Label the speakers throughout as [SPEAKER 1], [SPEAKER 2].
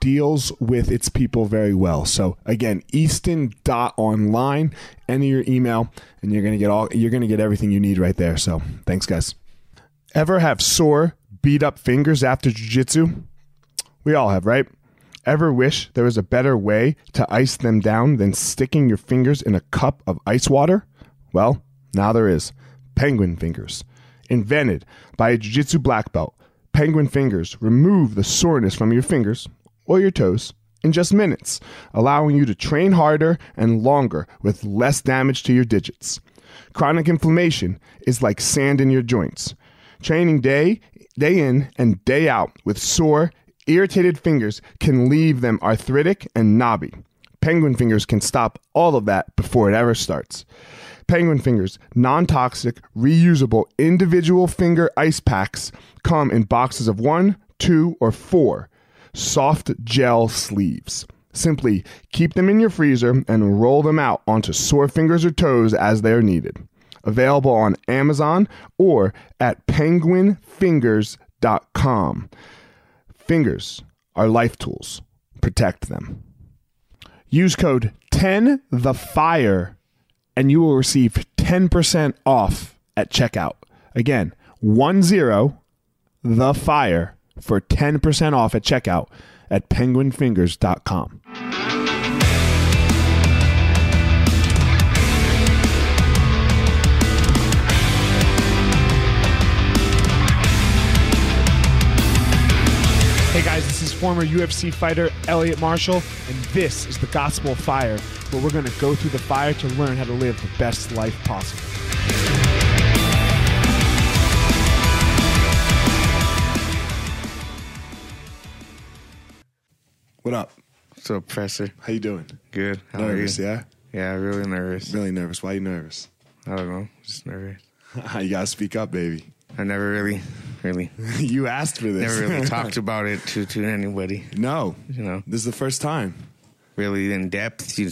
[SPEAKER 1] deals with its people very well. So again, easton.online, enter your email and you're going to get all you're going to get everything you need right there. So, thanks guys. Ever have sore, beat up fingers after jiu-jitsu? We all have, right? Ever wish there was a better way to ice them down than sticking your fingers in a cup of ice water? Well, now there is. Penguin fingers, invented by a jiu-jitsu black belt. Penguin fingers remove the soreness from your fingers or your toes in just minutes, allowing you to train harder and longer with less damage to your digits. Chronic inflammation is like sand in your joints. Training day, day in and day out with sore, irritated fingers can leave them arthritic and knobby. Penguin Fingers can stop all of that before it ever starts. Penguin Fingers non toxic, reusable, individual finger ice packs come in boxes of one, two, or four soft gel sleeves. Simply keep them in your freezer and roll them out onto sore fingers or toes as they are needed. Available on Amazon or at penguinfingers.com. Fingers are life tools. Protect them. Use code 10 the fire and you will receive 10% off at checkout. Again, 10 the fire for 10% off at checkout at penguinfingers.com. Hey guys, this is former UFC fighter Elliot Marshall, and this is the Gospel of Fire, where we're going to go through the fire to learn how to live the best life possible. What up?
[SPEAKER 2] So presser,
[SPEAKER 1] How you doing?
[SPEAKER 2] good. How are
[SPEAKER 1] Nervous,
[SPEAKER 2] you?
[SPEAKER 1] yeah?
[SPEAKER 2] Yeah, really nervous.
[SPEAKER 1] Really nervous. Why are you nervous?
[SPEAKER 2] I don't know, just nervous.
[SPEAKER 1] you gotta speak up, baby.
[SPEAKER 2] I never really, really,
[SPEAKER 1] you asked for this.
[SPEAKER 2] never really talked about it to to anybody.
[SPEAKER 1] no,
[SPEAKER 2] You know,
[SPEAKER 1] this is the first time.
[SPEAKER 2] really in depth. You,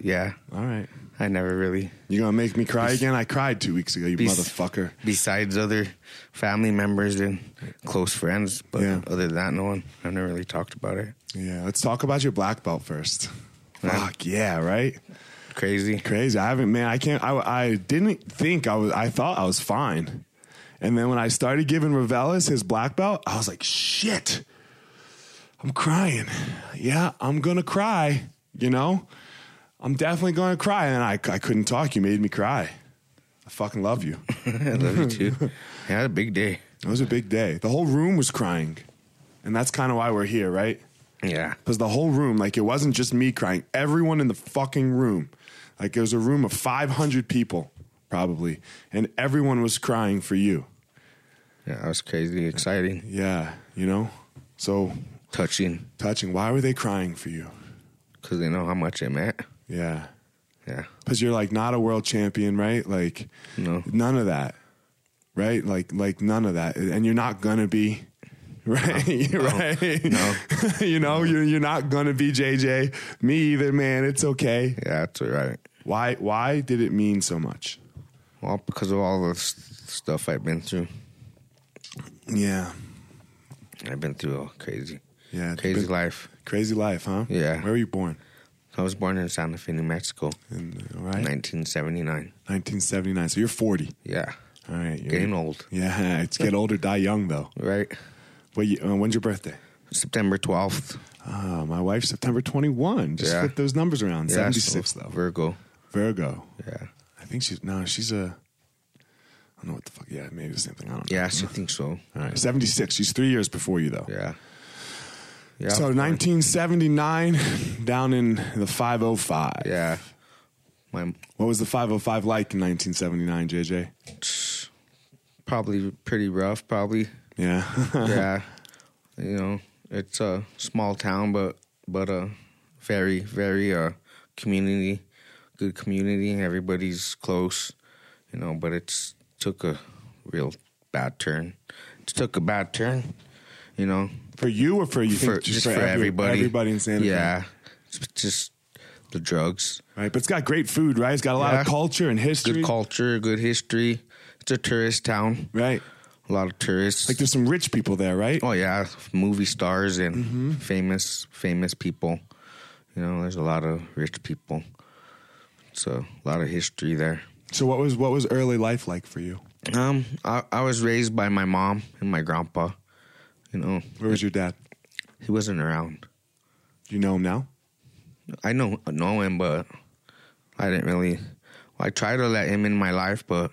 [SPEAKER 2] yeah,
[SPEAKER 1] All right,
[SPEAKER 2] I never really.
[SPEAKER 1] you gonna make me cry again? I cried two weeks ago. You
[SPEAKER 2] Bes-
[SPEAKER 1] motherfucker.
[SPEAKER 2] Besides other family members and close friends, but
[SPEAKER 1] Yeah.
[SPEAKER 2] other than that, no one. I've never really talked about it.
[SPEAKER 1] Yeah, let's talk about your black belt first.
[SPEAKER 2] Right.
[SPEAKER 1] Fuck yeah, right?
[SPEAKER 2] Crazy.
[SPEAKER 1] Crazy. I haven't, man. I can't. I, I didn't think I was. I thought I was fine, and then when I started giving Ravelis his black belt, I was like, shit. I'm crying. Yeah, I'm gonna cry. You know, I'm definitely gonna cry. And I, I couldn't talk. You made me cry. I fucking love you.
[SPEAKER 2] I love you too. Yeah, a big day.
[SPEAKER 1] It was a big day. The whole room was crying, and that's kind of why we're here, right?
[SPEAKER 2] Yeah,
[SPEAKER 1] Because the whole room, like, it wasn't just me crying. Everyone in the fucking room, like, it was a room of 500 people, probably, and everyone was crying for you.
[SPEAKER 2] yeah, that was crazy, exciting,
[SPEAKER 1] Yeah, you know? So
[SPEAKER 2] touching.
[SPEAKER 1] touching. Why were they crying for you?
[SPEAKER 2] because they know how much I'm at.
[SPEAKER 3] Yeah.
[SPEAKER 2] Yeah.
[SPEAKER 3] Because you're like not a world champion, right? Like
[SPEAKER 2] No.
[SPEAKER 3] none of that, right? Like like none of that, and you're not gonna be, right? right?
[SPEAKER 2] No.
[SPEAKER 3] you know, you're you're not gonna be JJ. Me either, man. It's okay.
[SPEAKER 2] Yeah, that's right.
[SPEAKER 3] Why why did it mean so much?
[SPEAKER 2] Well, because of all the s- stuff I've been through.
[SPEAKER 3] Yeah,
[SPEAKER 2] I've been through a crazy,
[SPEAKER 3] yeah. it's
[SPEAKER 2] crazy
[SPEAKER 3] been-
[SPEAKER 2] life.
[SPEAKER 3] Crazy life, huh?
[SPEAKER 2] Yeah.
[SPEAKER 3] Where were you born?
[SPEAKER 2] I was born in Santa Fe, New Mexico,
[SPEAKER 3] In, all right.
[SPEAKER 2] 1979.
[SPEAKER 3] 1979. So you're 40.
[SPEAKER 2] Yeah.
[SPEAKER 3] All right. You're,
[SPEAKER 2] Getting old,
[SPEAKER 3] Yeah, it's get older, die young though.
[SPEAKER 2] right?
[SPEAKER 3] What? ye- Uh, when's your birthday?
[SPEAKER 2] September 12th.
[SPEAKER 3] Uh, my wife's September 21. Just
[SPEAKER 2] Yeah.
[SPEAKER 3] flip those numbers around.
[SPEAKER 2] Yeah,
[SPEAKER 3] 76
[SPEAKER 2] so
[SPEAKER 3] though.
[SPEAKER 2] Virgo.
[SPEAKER 3] Virgo.
[SPEAKER 2] Yeah.
[SPEAKER 3] I think she's no, she's a. I don't know what the fuck. Yeah, maybe the same thing. I don't know.
[SPEAKER 2] Yeah, I should think so.
[SPEAKER 3] All right, seventy six. She's three years before you though.
[SPEAKER 2] Yeah. Yeah.
[SPEAKER 3] So nineteen seventy nine, down in the five oh five.
[SPEAKER 2] Yeah. My
[SPEAKER 3] What was the five oh five like in nineteen seventy nine, JJ?
[SPEAKER 2] probably pretty rough, probably.
[SPEAKER 3] Yeah.
[SPEAKER 2] yeah. You know, it's a small town but but a very, very uh community good community. Everybody's close, you know, but it's took a real bad turn. It took a bad turn, you know.
[SPEAKER 3] for you or for you think
[SPEAKER 2] for, just, for,
[SPEAKER 3] every-
[SPEAKER 2] everybody.
[SPEAKER 3] Everybody in Santa Fe?
[SPEAKER 2] Yeah. It's just the drugs.
[SPEAKER 3] Right, but it's got great food, right? It's got a lot
[SPEAKER 2] Yeah.
[SPEAKER 3] of culture and history.
[SPEAKER 2] Good culture, good history. It's a tourist town.
[SPEAKER 3] Right.
[SPEAKER 2] A lot of tourists.
[SPEAKER 3] Like there's some rich people there, right?
[SPEAKER 2] oh yeah, movie stars and famous famous people. You know, there's a lot of rich people. So a lot of history there.
[SPEAKER 3] So what was what was early life like for you?
[SPEAKER 2] Um, I, I was raised by my mom and my grandpa. You know,
[SPEAKER 3] Where was your dad?
[SPEAKER 2] he wasn't around.
[SPEAKER 3] Do you know him now?
[SPEAKER 2] I know know him, but I didn't really. I tried to let him in my life, but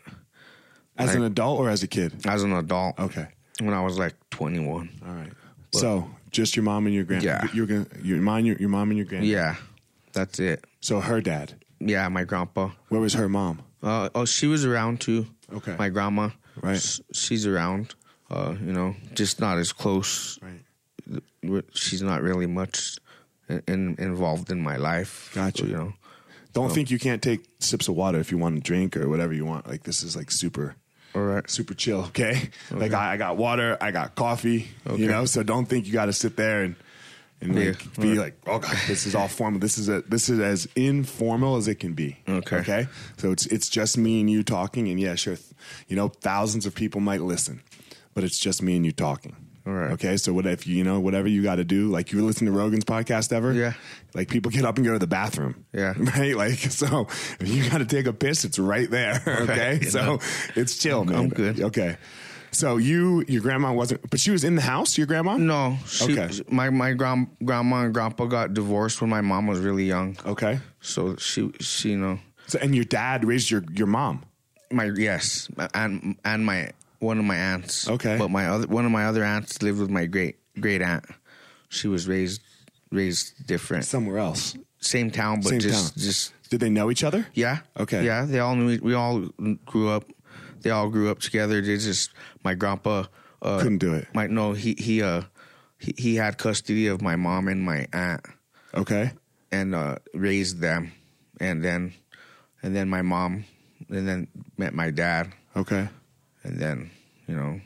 [SPEAKER 3] As
[SPEAKER 2] I-
[SPEAKER 3] an adult or as a kid?
[SPEAKER 2] as an adult,
[SPEAKER 3] Okay.
[SPEAKER 2] when I was like 21.
[SPEAKER 3] All right. so just your mom and your grand.
[SPEAKER 2] Yeah.
[SPEAKER 3] Your gonna your mom your, your mom and your grand.
[SPEAKER 2] Yeah, that's it.
[SPEAKER 3] So her dad.
[SPEAKER 2] Yeah, my grandpa.
[SPEAKER 3] Where was her mom?
[SPEAKER 2] Uh, oh, she was around too.
[SPEAKER 3] Okay.
[SPEAKER 2] My grandma.
[SPEAKER 3] Right.
[SPEAKER 2] S- she's around. Uh, you know, just not as close.
[SPEAKER 3] Right.
[SPEAKER 2] Right. She's not really much in, in, involved in my life.
[SPEAKER 3] Gotcha.
[SPEAKER 2] You know.
[SPEAKER 3] Don't think you can't take sips of water if you want to drink or whatever you want. Like this is like super
[SPEAKER 2] All right.
[SPEAKER 3] super chill. Okay. Like I, I got water, I got coffee.
[SPEAKER 2] Okay.
[SPEAKER 3] You know, so don't think you got to sit there and and
[SPEAKER 2] Yeah.
[SPEAKER 3] like, be like, oh god, this is all formal. This is a this is as informal as it can be.
[SPEAKER 2] Okay.
[SPEAKER 3] Okay. So it's it's just me and you talking, and yeah, sure, th- you know, thousands of people might listen, but it's just me and you talking.
[SPEAKER 2] All right.
[SPEAKER 3] Okay. So what if you you know whatever you got to do? Like you listen to Rogan's podcast ever?
[SPEAKER 2] Yeah.
[SPEAKER 3] Like people get up and go to the bathroom.
[SPEAKER 2] Yeah.
[SPEAKER 3] Right. Like so, if you got to take a piss, it's right there. Okay.
[SPEAKER 2] you
[SPEAKER 3] So
[SPEAKER 2] know.
[SPEAKER 3] it's chill, man.
[SPEAKER 2] I'm good.
[SPEAKER 3] Okay. So you, your grandma wasn't, but she was in the house. Your grandma.
[SPEAKER 2] No. She,
[SPEAKER 3] Okay.
[SPEAKER 2] My my grand, grandma and grandpa got divorced when my mom was really young.
[SPEAKER 3] Okay.
[SPEAKER 2] So she she you know
[SPEAKER 3] So and your dad raised your your mom.
[SPEAKER 2] my yes and and my one of my aunts.
[SPEAKER 3] Okay.
[SPEAKER 2] But my other one of my other aunts lived with my great great aunt. She was raised raised different.
[SPEAKER 3] Somewhere else.
[SPEAKER 2] same town, but
[SPEAKER 3] Same
[SPEAKER 2] just
[SPEAKER 3] town.
[SPEAKER 2] just
[SPEAKER 3] Did they know each other?
[SPEAKER 2] yeah.
[SPEAKER 3] Okay.
[SPEAKER 2] Yeah, they all knew. We all grew up. They all grew up together. They just my grandpa uh,
[SPEAKER 3] Couldn't do it.
[SPEAKER 2] My no, he he uh he, he had custody of my mom and my aunt
[SPEAKER 3] Okay.
[SPEAKER 2] and uh, raised them, and then and then my mom and then met my dad
[SPEAKER 3] Okay.
[SPEAKER 2] and then you know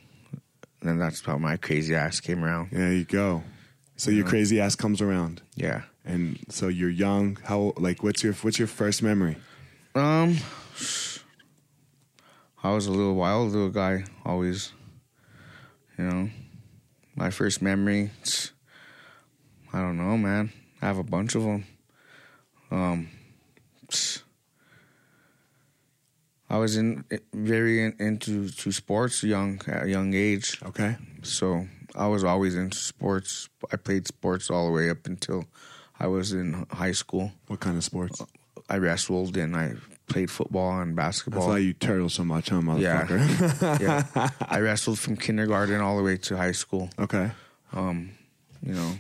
[SPEAKER 2] then that's how my crazy ass came around.
[SPEAKER 3] There you go. So your crazy ass comes around,
[SPEAKER 2] Yeah.
[SPEAKER 3] and so you're young. How like what's your what's your first memory?
[SPEAKER 2] Um, I was a little wild little guy, always. You know, my first memory. it's- I don't know, man. I have a bunch of them. Um, I was in very in, into to sports young at a young age,
[SPEAKER 3] Okay.
[SPEAKER 2] so I was always into sports. I played sports all the way up until I was in high school.
[SPEAKER 3] What kind of
[SPEAKER 2] Uh,
[SPEAKER 3] sports?
[SPEAKER 2] I wrestled and I played football and
[SPEAKER 3] That's
[SPEAKER 2] basketball.
[SPEAKER 3] why you turtle so much, huh,
[SPEAKER 2] Yeah.
[SPEAKER 3] motherfucker?
[SPEAKER 2] yeah. I wrestled from kindergarten all the way to high school.
[SPEAKER 3] okay.
[SPEAKER 2] Um, you know,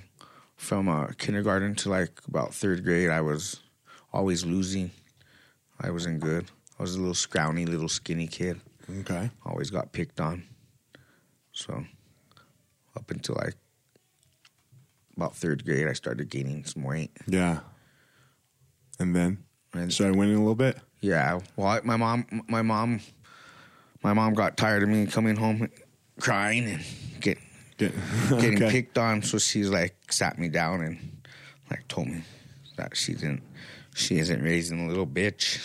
[SPEAKER 2] from uh, kindergarten to like about third grade, I was always losing. I wasn't good. I was a little scrawny, little skinny kid.
[SPEAKER 3] Okay.
[SPEAKER 2] Always got picked on. So, up until like about third grade, I started gaining some weight.
[SPEAKER 3] Yeah. and then
[SPEAKER 2] And-
[SPEAKER 3] started winning a little bit.
[SPEAKER 2] Yeah. Well, I, my mom, my mom, my mom got tired of me coming home crying and get
[SPEAKER 3] Get-
[SPEAKER 2] getting
[SPEAKER 3] okay.
[SPEAKER 2] picked on, so she's like sat me down and like told me that she didn't, she isn't raising a little bitch.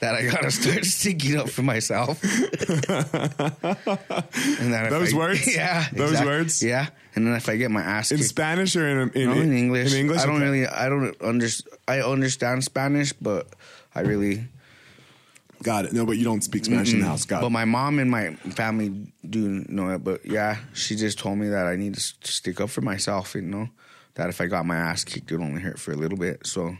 [SPEAKER 2] that I gotta start sticking up for myself. and that if
[SPEAKER 3] Those
[SPEAKER 2] I-
[SPEAKER 3] words?
[SPEAKER 2] yeah,
[SPEAKER 3] Those words?
[SPEAKER 2] yeah. And then if I get my ass
[SPEAKER 3] in
[SPEAKER 2] kicked
[SPEAKER 3] Spanish or in in, E-
[SPEAKER 2] no, in English.
[SPEAKER 3] In English,
[SPEAKER 2] I don't
[SPEAKER 3] Okay.
[SPEAKER 2] really. I don't understand. I understand Spanish, but I really.
[SPEAKER 3] Got it. No, but you don't speak Spanish in the house. Got
[SPEAKER 2] But
[SPEAKER 3] it.
[SPEAKER 2] my mom and my family do know it. But yeah, she just told me that I need to s- stick up for myself. You know, that if I got my ass kicked, it only hurt for a little bit. So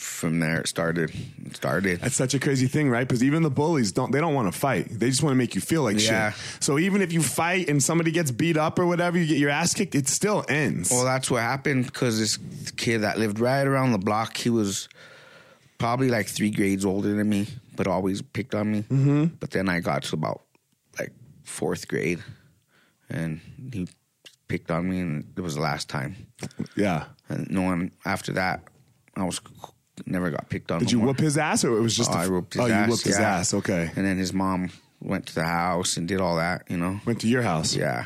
[SPEAKER 2] from there, it started. It started.
[SPEAKER 3] That's such a crazy thing, right? Because even the bullies don't they don't want to fight. They just want to make you feel like
[SPEAKER 2] Yeah.
[SPEAKER 3] shit. So even if you fight and somebody gets beat up or whatever, you get your ass kicked, it still ends.
[SPEAKER 2] Well, that's what happened because this kid that lived right around the block, he was probably like three grades older than me, but always picked on me. Mm-hmm. But then I got to about like fourth grade, and he picked on me, and it was the last time.
[SPEAKER 3] yeah.
[SPEAKER 2] And no one after that, I was never got picked on.
[SPEAKER 3] Did
[SPEAKER 2] no
[SPEAKER 3] you
[SPEAKER 2] more.
[SPEAKER 3] whoop his ass or it was just
[SPEAKER 2] Oh,
[SPEAKER 3] a-
[SPEAKER 2] I whooped his
[SPEAKER 3] oh,
[SPEAKER 2] ass.
[SPEAKER 3] you whooped his
[SPEAKER 2] yeah.
[SPEAKER 3] ass. Okay.
[SPEAKER 2] And then his mom went to the house and did all that, you know.
[SPEAKER 3] Went to your house.
[SPEAKER 2] Yeah.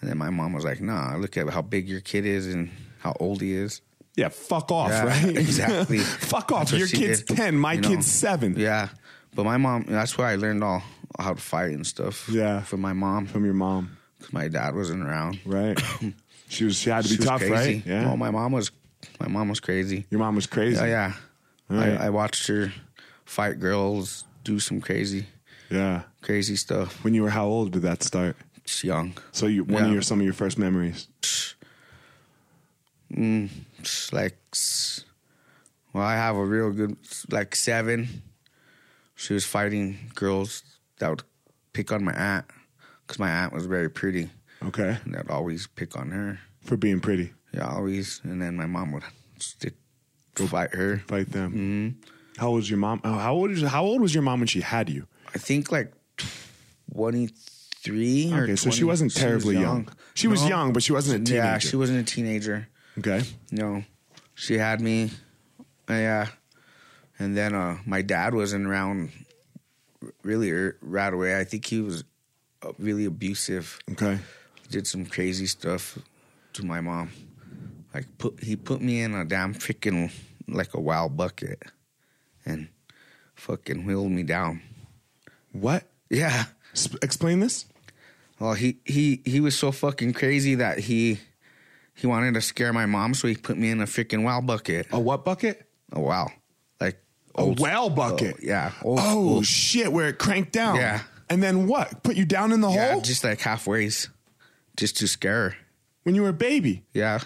[SPEAKER 2] And then my mom was like, nah, look at how big your kid is and how old he is.
[SPEAKER 3] Yeah, fuck off,
[SPEAKER 2] Yeah,
[SPEAKER 3] right?
[SPEAKER 2] exactly.
[SPEAKER 3] fuck off.
[SPEAKER 2] That's what
[SPEAKER 3] Your
[SPEAKER 2] she
[SPEAKER 3] kid's
[SPEAKER 2] did,
[SPEAKER 3] 10, my
[SPEAKER 2] you know?
[SPEAKER 3] kid's 7.
[SPEAKER 2] Yeah. But my mom, that's where I learned all how to fight and stuff.
[SPEAKER 3] Yeah.
[SPEAKER 2] From my mom.
[SPEAKER 3] From your mom,
[SPEAKER 2] 'cause my dad wasn't around.
[SPEAKER 3] right? she was she had to be
[SPEAKER 2] She was
[SPEAKER 3] tough,
[SPEAKER 2] crazy.
[SPEAKER 3] right? Yeah.
[SPEAKER 2] Oh, my mom was, my mom was crazy.
[SPEAKER 3] your mom was crazy.
[SPEAKER 2] Oh, yeah.
[SPEAKER 3] Right.
[SPEAKER 2] I, I watched her fight girls, do some crazy,
[SPEAKER 3] Yeah.
[SPEAKER 2] crazy stuff.
[SPEAKER 3] When you were how old did that start?
[SPEAKER 2] She's young.
[SPEAKER 3] So you one of
[SPEAKER 2] Yeah.
[SPEAKER 3] your some of your first memories.
[SPEAKER 2] It's like Mm, s- well i have a real good like seven she was fighting girls that would pick on my aunt because my aunt was very pretty
[SPEAKER 3] Okay.
[SPEAKER 2] and they'd always pick on her
[SPEAKER 3] For being pretty.
[SPEAKER 2] yeah always and then my mom would stick fight her
[SPEAKER 3] Fight them.
[SPEAKER 2] Mm-hmm.
[SPEAKER 3] How old was your mom? oh, How old is how old was your mom when she had you?
[SPEAKER 2] i think like 23 or
[SPEAKER 3] Okay, so she
[SPEAKER 2] 20.
[SPEAKER 3] wasn't
[SPEAKER 2] was
[SPEAKER 3] terribly young. She was
[SPEAKER 2] No.
[SPEAKER 3] young, but she wasn't a
[SPEAKER 2] yeah
[SPEAKER 3] teenager.
[SPEAKER 2] she wasn't a teenager
[SPEAKER 3] okay.
[SPEAKER 2] No, she had me. Yeah, and then uh, my dad wasn't around really er- right away. I think he was uh, really abusive.
[SPEAKER 3] Okay.
[SPEAKER 2] Did some crazy stuff to my mom. Like put he put me in a damn freaking like a wild bucket, and fucking wheeled me down.
[SPEAKER 3] What?
[SPEAKER 2] Yeah.
[SPEAKER 3] Sp- explain this.
[SPEAKER 2] Well, he he he was so fucking crazy that he he wanted to scare my mom, so he put me in a freaking wild bucket.
[SPEAKER 3] A what bucket?
[SPEAKER 2] Oh wow! Like
[SPEAKER 3] A well bucket.
[SPEAKER 2] Oh, yeah.
[SPEAKER 3] Oh,
[SPEAKER 2] Old school.
[SPEAKER 3] shit! Where it cranked down.
[SPEAKER 2] Yeah.
[SPEAKER 3] And then what? Put you down in the
[SPEAKER 2] yeah.
[SPEAKER 3] hole
[SPEAKER 2] Just like halfways, just to scare. her.
[SPEAKER 3] when you were a baby.
[SPEAKER 2] Yeah.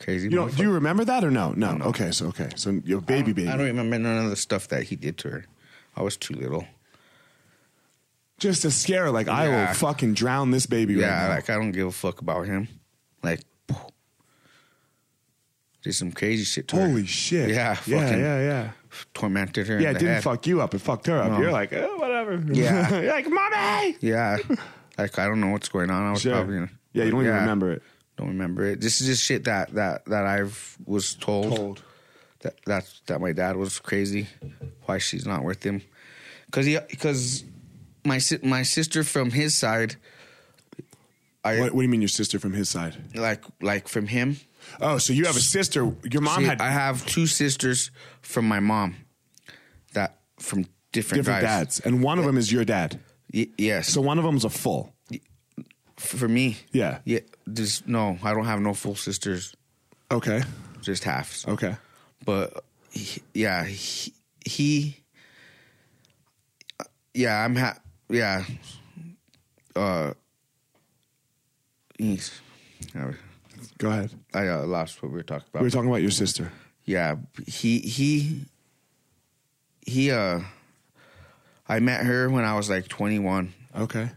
[SPEAKER 2] Crazy.
[SPEAKER 3] You don't, do
[SPEAKER 2] motherfucker.
[SPEAKER 3] you remember that or no? No. Okay. So okay. So your baby baby.
[SPEAKER 2] I don't remember none of the stuff that he did to her. I was too little.
[SPEAKER 3] Just to scare her, like I
[SPEAKER 2] Yeah.
[SPEAKER 3] will fucking drown this baby
[SPEAKER 2] Yeah,
[SPEAKER 3] right now.
[SPEAKER 2] like I don't give a fuck about him. Like, did some crazy shit to her.
[SPEAKER 3] Holy shit.
[SPEAKER 2] Yeah,
[SPEAKER 3] Yeah.
[SPEAKER 2] fucking-
[SPEAKER 3] Yeah. Yeah.
[SPEAKER 2] Tormented her.
[SPEAKER 3] Yeah,
[SPEAKER 2] in
[SPEAKER 3] it
[SPEAKER 2] the
[SPEAKER 3] didn't
[SPEAKER 2] head.
[SPEAKER 3] fuck you up. It fucked her up.
[SPEAKER 2] No.
[SPEAKER 3] You're like, oh, whatever.
[SPEAKER 2] Yeah.
[SPEAKER 3] You're like, mommy.
[SPEAKER 2] Yeah. Like I don't know what's going on. I was
[SPEAKER 3] Sure.
[SPEAKER 2] probably in-
[SPEAKER 3] yeah, you don't even remember it.
[SPEAKER 2] Don't remember it. This is just shit that that that I've was that that's that my dad was crazy. Why she's not with him? Because he because my si- my sister from his side, I
[SPEAKER 3] What, what do you mean, your sister from his side?
[SPEAKER 2] like like from him.
[SPEAKER 3] Oh, so you have a sister. Your mom
[SPEAKER 2] See,
[SPEAKER 3] had
[SPEAKER 2] I have two sisters from my mom, that from different
[SPEAKER 3] different
[SPEAKER 2] guys.
[SPEAKER 3] dads, and one of them is your dad.
[SPEAKER 2] Y- yes,
[SPEAKER 3] So
[SPEAKER 2] so
[SPEAKER 3] one of them's a full.
[SPEAKER 2] for me,
[SPEAKER 3] Yeah.
[SPEAKER 2] yeah. Just no, I don't have no full sisters,
[SPEAKER 3] Okay.
[SPEAKER 2] just halves.
[SPEAKER 3] Okay.
[SPEAKER 2] but he, yeah, he, he yeah, I'm ha- yeah, uh, he's,
[SPEAKER 3] Go ahead.
[SPEAKER 2] I uh, lost what we were talking about.
[SPEAKER 3] We were talking about your sister.
[SPEAKER 2] yeah, he he he uh, I met her when I was like 21.
[SPEAKER 3] Okay.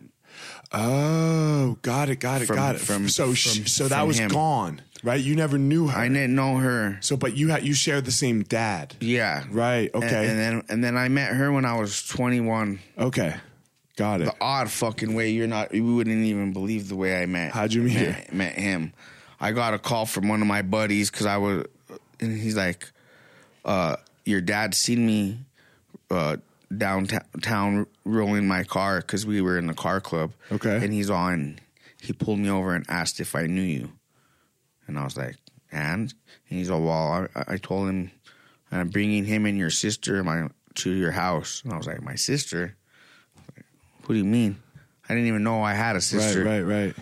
[SPEAKER 3] Oh, got it. Got it.
[SPEAKER 2] From-
[SPEAKER 3] got it.
[SPEAKER 2] from-
[SPEAKER 3] so she,
[SPEAKER 2] from-
[SPEAKER 3] so that
[SPEAKER 2] from
[SPEAKER 3] was
[SPEAKER 2] him.
[SPEAKER 3] gone, right? You never knew her.
[SPEAKER 2] I didn't know her.
[SPEAKER 3] so, but you had you shared the same dad.
[SPEAKER 2] Yeah,
[SPEAKER 3] Right.
[SPEAKER 2] And-
[SPEAKER 3] Okay.
[SPEAKER 2] and then and then I met her when I was 21.
[SPEAKER 3] okay. Got it.
[SPEAKER 2] the odd fucking way you're not you wouldn't even believe the way I met
[SPEAKER 3] How'd you meet
[SPEAKER 2] met, met him. I got a call from one of my buddies because I was and he's like, uh, "Your dad seen me uh, downtown rolling my car because we were in the car club."
[SPEAKER 3] Okay.
[SPEAKER 2] and he's on. He pulled me over and asked if I knew you, and I was like, "And?" And he's like, "Well, I, I told him I'm bringing him and your sister my to your house," and I was like, "My sister? What do you mean? I didn't even know I had a
[SPEAKER 3] Right,
[SPEAKER 2] sister."
[SPEAKER 3] right, right.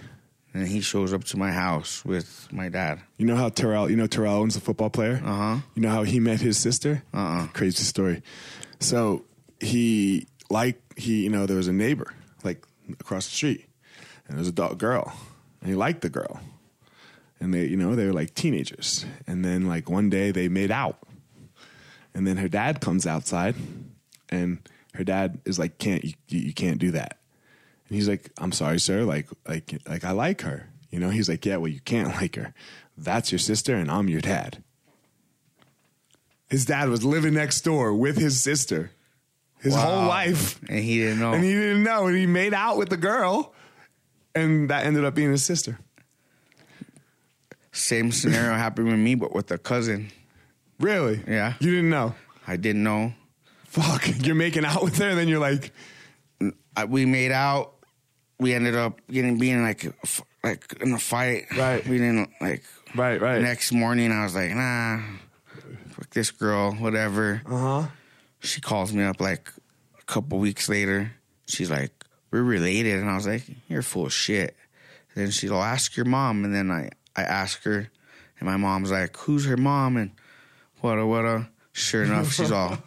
[SPEAKER 2] And he shows up to my house with my dad.
[SPEAKER 3] You know how Terrell, you know Terrell Owens, the football player?
[SPEAKER 2] Uh huh.
[SPEAKER 3] You know how he met his sister?
[SPEAKER 2] Uh-uh.
[SPEAKER 3] Crazy story. So he like he you know there was a neighbor like across the street, and there was a dog girl, and he liked the girl, and they you know they were like teenagers, and then like one day they made out, and then her dad comes outside, and her dad is like can't you, you can't do that, and he's like, "I'm sorry, sir. Like, like, like, I like her." You know, he's like, "Yeah, well, you can't like her. That's your sister, and I'm your dad." His dad was living next door with his sister, his whole
[SPEAKER 2] Wow.
[SPEAKER 3] life,
[SPEAKER 2] And he didn't know.
[SPEAKER 3] and he didn't know. And he made out with the girl, and that ended up being his sister.
[SPEAKER 2] Same scenario happened with me, but with a cousin.
[SPEAKER 3] Really?
[SPEAKER 2] Yeah.
[SPEAKER 3] You didn't know?
[SPEAKER 2] I didn't know.
[SPEAKER 3] Fuck! You're making out with her, and then you're like,
[SPEAKER 2] I, we made out. We ended up getting being like a f- like in a fight.
[SPEAKER 3] Right.
[SPEAKER 2] We didn't like.
[SPEAKER 3] "Right, right,
[SPEAKER 2] Next morning, I was like, nah, fuck this girl, whatever.
[SPEAKER 3] uh huh."
[SPEAKER 2] She calls me up like a couple weeks later. She's like, we're related, and I was like, you're full of shit. then she'll ask your mom, and then I I ask her, and my mom's like, who's her mom? And what a what a. Sure enough, she's all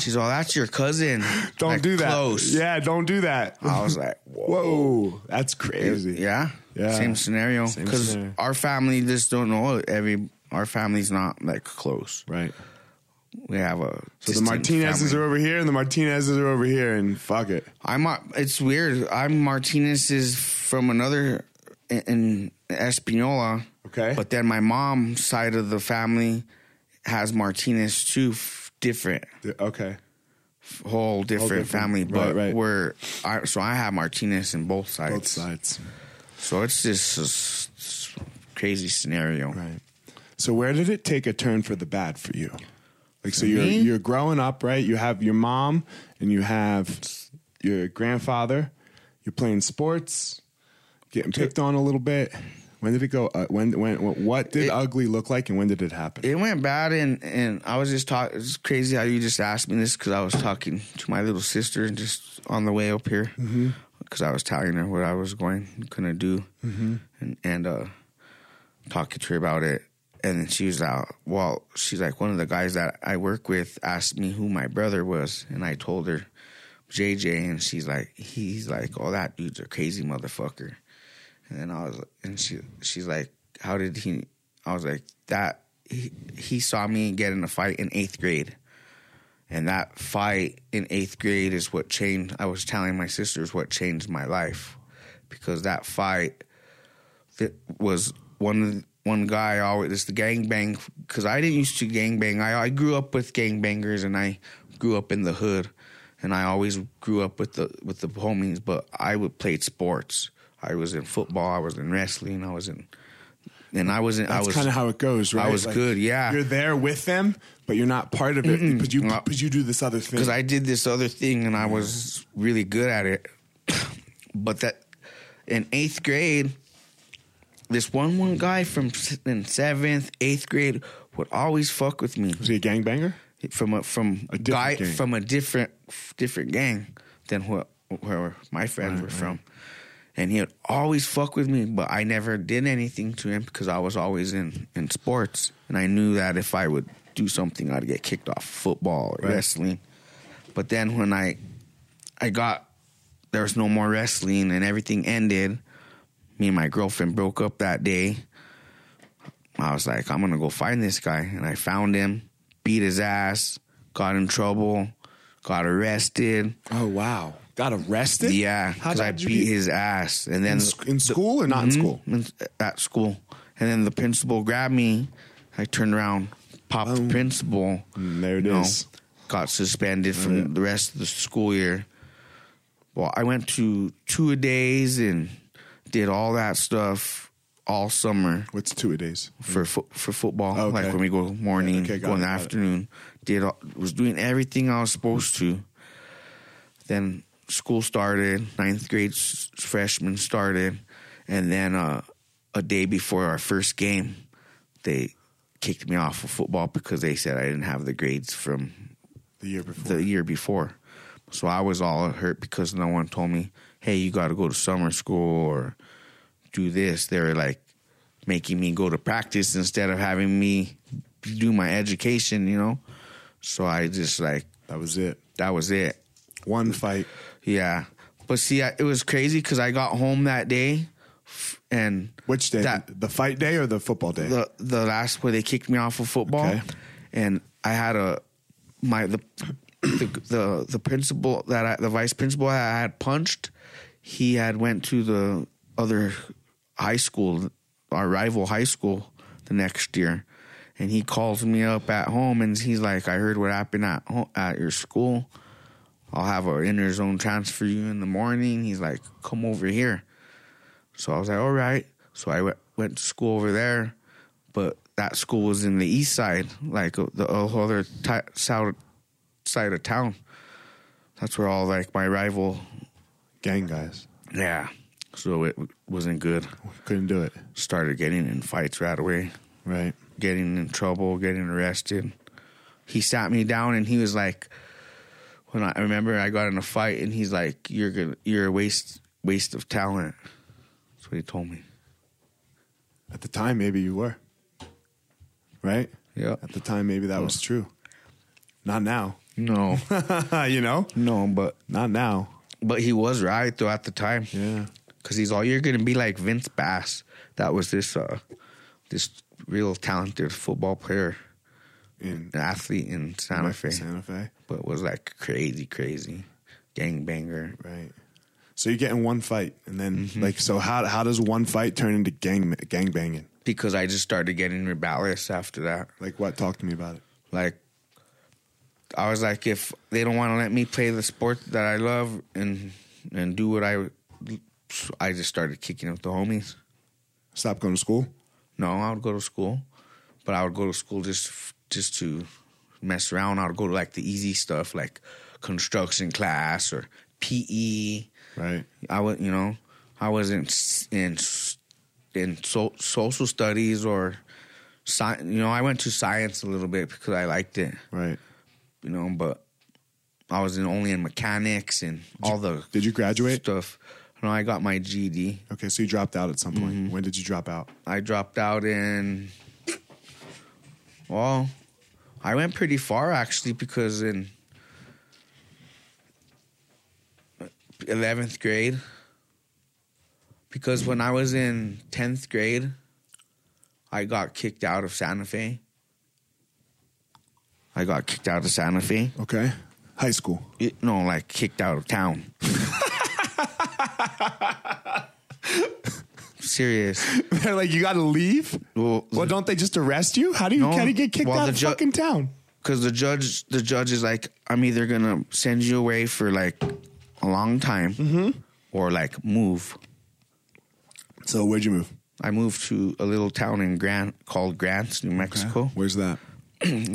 [SPEAKER 2] she's all that's your cousin.
[SPEAKER 3] Don't
[SPEAKER 2] Like,
[SPEAKER 3] do that.
[SPEAKER 2] Close.
[SPEAKER 3] Yeah, don't do that.
[SPEAKER 2] I was like, whoa.
[SPEAKER 3] Whoa, that's crazy.
[SPEAKER 2] Yeah.
[SPEAKER 3] Yeah.
[SPEAKER 2] Same scenario.
[SPEAKER 3] Same
[SPEAKER 2] Because
[SPEAKER 3] scenario.
[SPEAKER 2] our family just don't know it. every. Our family's not like close.
[SPEAKER 3] Right.
[SPEAKER 2] We have a.
[SPEAKER 3] So the Martinezes are over here and the Martinezes are over here and fuck it.
[SPEAKER 2] I'm. uh, It's weird. I'm Martinez is from another in, in Espanola.
[SPEAKER 3] Okay.
[SPEAKER 2] But then my mom's side of the family has Martinez too. F- different,
[SPEAKER 3] Okay.
[SPEAKER 2] whole different,
[SPEAKER 3] different.
[SPEAKER 2] family.
[SPEAKER 3] Right,
[SPEAKER 2] But
[SPEAKER 3] right.
[SPEAKER 2] we're. I, so I have Martinez in both sides.
[SPEAKER 3] Both sides.
[SPEAKER 2] So it's just a s- s- crazy scenario.
[SPEAKER 3] Right. So where did it take a turn for the bad for you? Like so you're
[SPEAKER 2] me?
[SPEAKER 3] you're growing up, right? You have your mom and you have your grandfather. You're playing sports, getting picked on a little bit. When did it go? Uh, when when what- what did
[SPEAKER 2] It-
[SPEAKER 3] ugly look like and when did it happen?
[SPEAKER 2] it went bad and and I was just talking. It's crazy how you just asked me this because I was talking to my little sister just on the way up here because I was telling her what I was going gonna do and and uh, talking to her about it. And then she was out. Well, she's like one of the guys that I work with asked me who my brother was, and I told her JJ, and she's like, he's like, oh, that dude's a crazy motherfucker. And then I was, and she, she's like, how did he? I was like, that he, he saw me get in a fight in eighth grade, and that fight in eighth grade is what changed. I was telling my sisters what changed my life, because that fight that was one one guy always it's the gangbang because I didn't used to gangbang. I I grew up with gangbangers and I grew up in the hood and I always grew up with the with the homies. But I would played sports. I was in football. I was in wrestling. I was in and I was in. I
[SPEAKER 3] That's
[SPEAKER 2] was
[SPEAKER 3] kind of how it goes, right?
[SPEAKER 2] was good, yeah.
[SPEAKER 3] You're there with them, but you're not part of it because you because you do this other thing.
[SPEAKER 2] because I did this other thing and I was really good at it. but that in eighth grade, this one one guy from s- in seventh, eighth grade would always fuck with me
[SPEAKER 3] was he a gangbanger?
[SPEAKER 2] from a from a guy
[SPEAKER 3] different gang.
[SPEAKER 2] from a different different gang than what where my friends were from. And he would always fuck with me, but I never did anything to him because I was always in, in sports. And I knew that if I would do something, I'd get kicked off football or
[SPEAKER 3] Right.
[SPEAKER 2] wrestling. But then when I I got there was no more wrestling and everything ended. Me and my girlfriend broke up that day. I was like, I'm gonna go find this guy. And I found him, beat his ass, got in trouble, got arrested.
[SPEAKER 3] Oh wow, got arrested.
[SPEAKER 2] Yeah,
[SPEAKER 3] How
[SPEAKER 2] because I
[SPEAKER 3] did you
[SPEAKER 2] beat
[SPEAKER 3] get-
[SPEAKER 2] his ass. And
[SPEAKER 3] in,
[SPEAKER 2] then
[SPEAKER 3] sc- in school or not in school?
[SPEAKER 2] Mm, at school. And then the principal grabbed me. I turned around, popped the principal.
[SPEAKER 3] Mm, Um, there it
[SPEAKER 2] it is.
[SPEAKER 3] is.
[SPEAKER 2] Got suspended from the rest of the school year. Well, I went to two a days and did all that stuff. all summer
[SPEAKER 1] What's two a days?
[SPEAKER 2] for fo- for football.
[SPEAKER 1] Mm. Okay.
[SPEAKER 2] Like when we go morning,
[SPEAKER 1] Okay, got
[SPEAKER 2] go in
[SPEAKER 1] it,
[SPEAKER 2] the
[SPEAKER 1] got it.
[SPEAKER 2] afternoon. Did all, was doing everything I was supposed to. Then school started. Ninth grade s- freshmen started, and then uh, a day before our first game, they kicked me off of football because they said I didn't have the grades from
[SPEAKER 1] The year before.
[SPEAKER 2] the year before. So I was all hurt because no one told me, hey, you got to go to summer school or do this. They were like making me go to practice instead of having me do my education, you know? So I just like,
[SPEAKER 1] that was it.
[SPEAKER 2] that was it.
[SPEAKER 1] One fight.
[SPEAKER 2] Yeah. But see, I, it was crazy because I got home that day f- and
[SPEAKER 1] Which day?
[SPEAKER 2] That-
[SPEAKER 1] the fight day or the football day?
[SPEAKER 2] the the last where they kicked me off of football,
[SPEAKER 1] Okay.
[SPEAKER 2] and I had a my the the the, the principal that I, the vice principal I had punched. He had went to the other high school, our rival high school, the next year, and he calls me up at home and he's like, "I heard what happened at home, at your school. I'll have an inner zone transfer you in the morning." He's like, "Come over here." So I was like, all right. So I went, went to school over there, but that school was in the east side, like uh, the whole other ti south side of town. That's where all like my rival.
[SPEAKER 1] Gang guys.
[SPEAKER 2] Yeah. So it wasn't good.
[SPEAKER 1] Couldn't do it.
[SPEAKER 2] Started getting in fights right away,
[SPEAKER 1] Right.
[SPEAKER 2] getting in trouble, getting arrested. He sat me down and he was like, when I, I remember I got in a fight and he's like, you're gonna, you're a waste, waste of talent. That's what he told me.
[SPEAKER 1] At the time, maybe you were. Right?
[SPEAKER 2] Yeah.
[SPEAKER 1] At the time, maybe that was true. Not now.
[SPEAKER 2] No.
[SPEAKER 1] you know?
[SPEAKER 2] No, but
[SPEAKER 1] Not now.
[SPEAKER 2] but he was right though at the time.
[SPEAKER 1] Yeah.
[SPEAKER 2] Cause he's all you're gonna be like Vince Bass. That was this uh this real talented football player,
[SPEAKER 1] In
[SPEAKER 2] an athlete in Santa Fe.
[SPEAKER 1] Santa Fe.
[SPEAKER 2] But was like crazy, crazy. Gangbanger.
[SPEAKER 1] Right. So you get in one fight, and then
[SPEAKER 2] Mm-hmm.
[SPEAKER 1] like, so how how does one fight turn into gang gang banging?
[SPEAKER 2] Because I just started getting rebellious after that.
[SPEAKER 1] Like what? Talk to me about it.
[SPEAKER 2] Like I was like, if they don't wanna let me play the sport that I love and and do what I I just started kicking up the homies.
[SPEAKER 1] Stop going to school.
[SPEAKER 2] No, I would go to school, but I would go to school just f- just to mess around. I would go to like the easy stuff, like construction class or PE.
[SPEAKER 1] Right.
[SPEAKER 2] I would, you know, I wasn't s- in s- in so, social studies or sci- You know, I went to science a little bit because I liked it.
[SPEAKER 1] Right.
[SPEAKER 2] You know, but I was in only in mechanics and all the
[SPEAKER 1] Did you graduate?
[SPEAKER 2] stuff. You know, I got my GED.
[SPEAKER 1] Okay, so you dropped out at some point. When did you drop out?
[SPEAKER 2] I dropped out in. Well, I went pretty far actually because in eleventh grade. Because when I was in tenth grade, I got kicked out of Santa Fe. I got kicked out of Santa Fe.
[SPEAKER 1] Okay. High school.
[SPEAKER 2] It- no, like kicked out of town. Serious.
[SPEAKER 1] They're like, you got to leave.
[SPEAKER 2] Well,
[SPEAKER 1] Well, don't they just arrest you? How do you
[SPEAKER 2] No.
[SPEAKER 1] how do you get kicked
[SPEAKER 2] Well,
[SPEAKER 1] out
[SPEAKER 2] the
[SPEAKER 1] of
[SPEAKER 2] ju-
[SPEAKER 1] fucking town?
[SPEAKER 2] because the judge the judge is like i'm either gonna send you away for like a long time or like move
[SPEAKER 1] So where'd you move?
[SPEAKER 2] i moved to a little town in grant called grants new mexico
[SPEAKER 1] Where's that?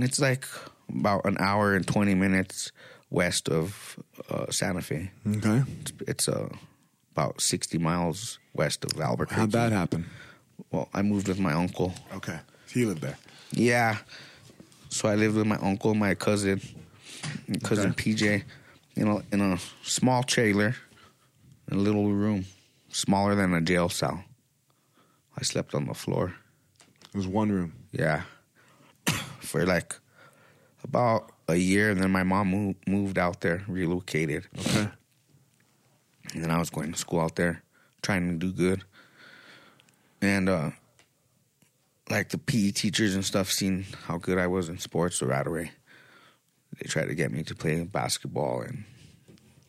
[SPEAKER 2] it's like about an hour and 20 minutes west of uh, santa fe
[SPEAKER 3] Mm.
[SPEAKER 1] Okay.
[SPEAKER 2] it's, it's uh, about 60 miles west of albuquerque
[SPEAKER 1] How'd that happen?
[SPEAKER 2] well i moved with my uncle
[SPEAKER 1] Okay. He lived there.
[SPEAKER 2] Yeah. So I lived with my uncle, my cousin, and cousin PJ, in a in a small trailer, in a little room, smaller than a jail cell. I slept on the floor.
[SPEAKER 1] It was one room.
[SPEAKER 2] Yeah. For like about a year, and then my mom moved, moved out there, relocated,
[SPEAKER 1] Okay.
[SPEAKER 2] and then I was going to school out there, trying to do good. And uh, like the PE teachers and stuff, seen how good I was in sports, so right away they tried to get me to play basketball. And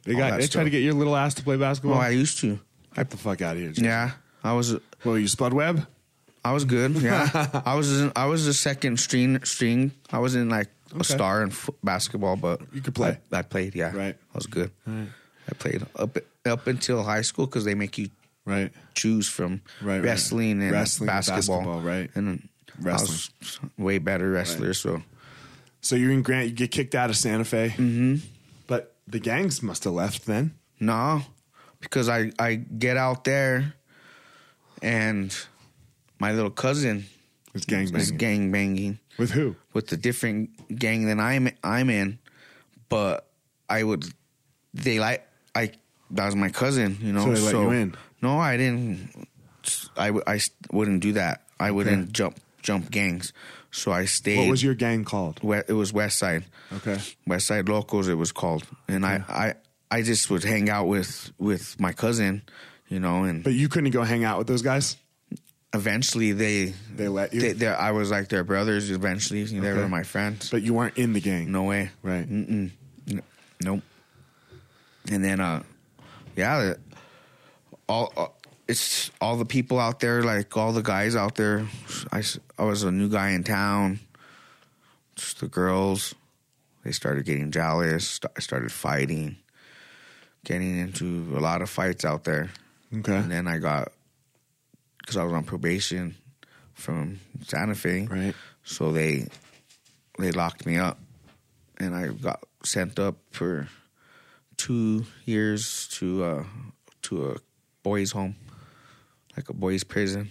[SPEAKER 1] They
[SPEAKER 2] All
[SPEAKER 1] got
[SPEAKER 2] that
[SPEAKER 1] they tried
[SPEAKER 2] stuff.
[SPEAKER 1] to get your little ass to play
[SPEAKER 2] oh,
[SPEAKER 1] basketball.
[SPEAKER 2] I used to.
[SPEAKER 1] Get the fuck out of here. Jason.
[SPEAKER 2] Yeah, I was.
[SPEAKER 1] Well, you Spud Webb?
[SPEAKER 2] I was good. Yeah, I was. In, I was the second string. String. I was in like a star in f- basketball, but
[SPEAKER 1] You could play.
[SPEAKER 2] I, I played. Yeah,
[SPEAKER 1] Right.
[SPEAKER 2] I was good. I played up up until high school because they make you
[SPEAKER 4] Right.
[SPEAKER 2] choose from
[SPEAKER 4] Right, right.
[SPEAKER 2] wrestling and
[SPEAKER 4] Wrestling and
[SPEAKER 2] basketball.
[SPEAKER 4] basketball, right.
[SPEAKER 2] And
[SPEAKER 4] Wrestling.
[SPEAKER 2] I was way better wrestler, so
[SPEAKER 3] So you're in Grant. You get kicked out of Santa Fe. Mm-hmm. But the gangs must have left then.
[SPEAKER 2] No, because I I get out there, and my little cousin
[SPEAKER 3] It's gang
[SPEAKER 2] is
[SPEAKER 3] banging.
[SPEAKER 2] gang banging
[SPEAKER 3] With who?
[SPEAKER 2] with a different gang than I'm I'm in, but I would they like I that was my cousin, you know.
[SPEAKER 3] So they let you in?
[SPEAKER 2] No, I didn't. I, w- I s- wouldn't do that. I wouldn't jump jump gangs. So I stayed.
[SPEAKER 3] What was your gang called?
[SPEAKER 2] we- it was West Side.
[SPEAKER 3] Okay.
[SPEAKER 2] West Side Locals it was called. And I, I I just would hang out with with my cousin, you know, and
[SPEAKER 3] But you couldn't go hang out with those guys.
[SPEAKER 2] eventually they
[SPEAKER 3] They let you?
[SPEAKER 2] they, they- I was like their brothers eventually. They were my friends.
[SPEAKER 3] But you weren't in the gang.
[SPEAKER 2] no way.
[SPEAKER 3] Right.
[SPEAKER 2] Mm-mm. N- Nope. And then uh yeah, the- all uh, it's all the people out there like all the guys out there. I s- I was a new guy in town. Just the girls they started getting jealous, st- started fighting, getting into a lot of fights out there.
[SPEAKER 3] Okay.
[SPEAKER 2] And then I got cuz I was on probation from Santa Fe.
[SPEAKER 3] Right.
[SPEAKER 2] So they they locked me up, and I got sent up for two years to uh, to a boys' home, like a boys' prison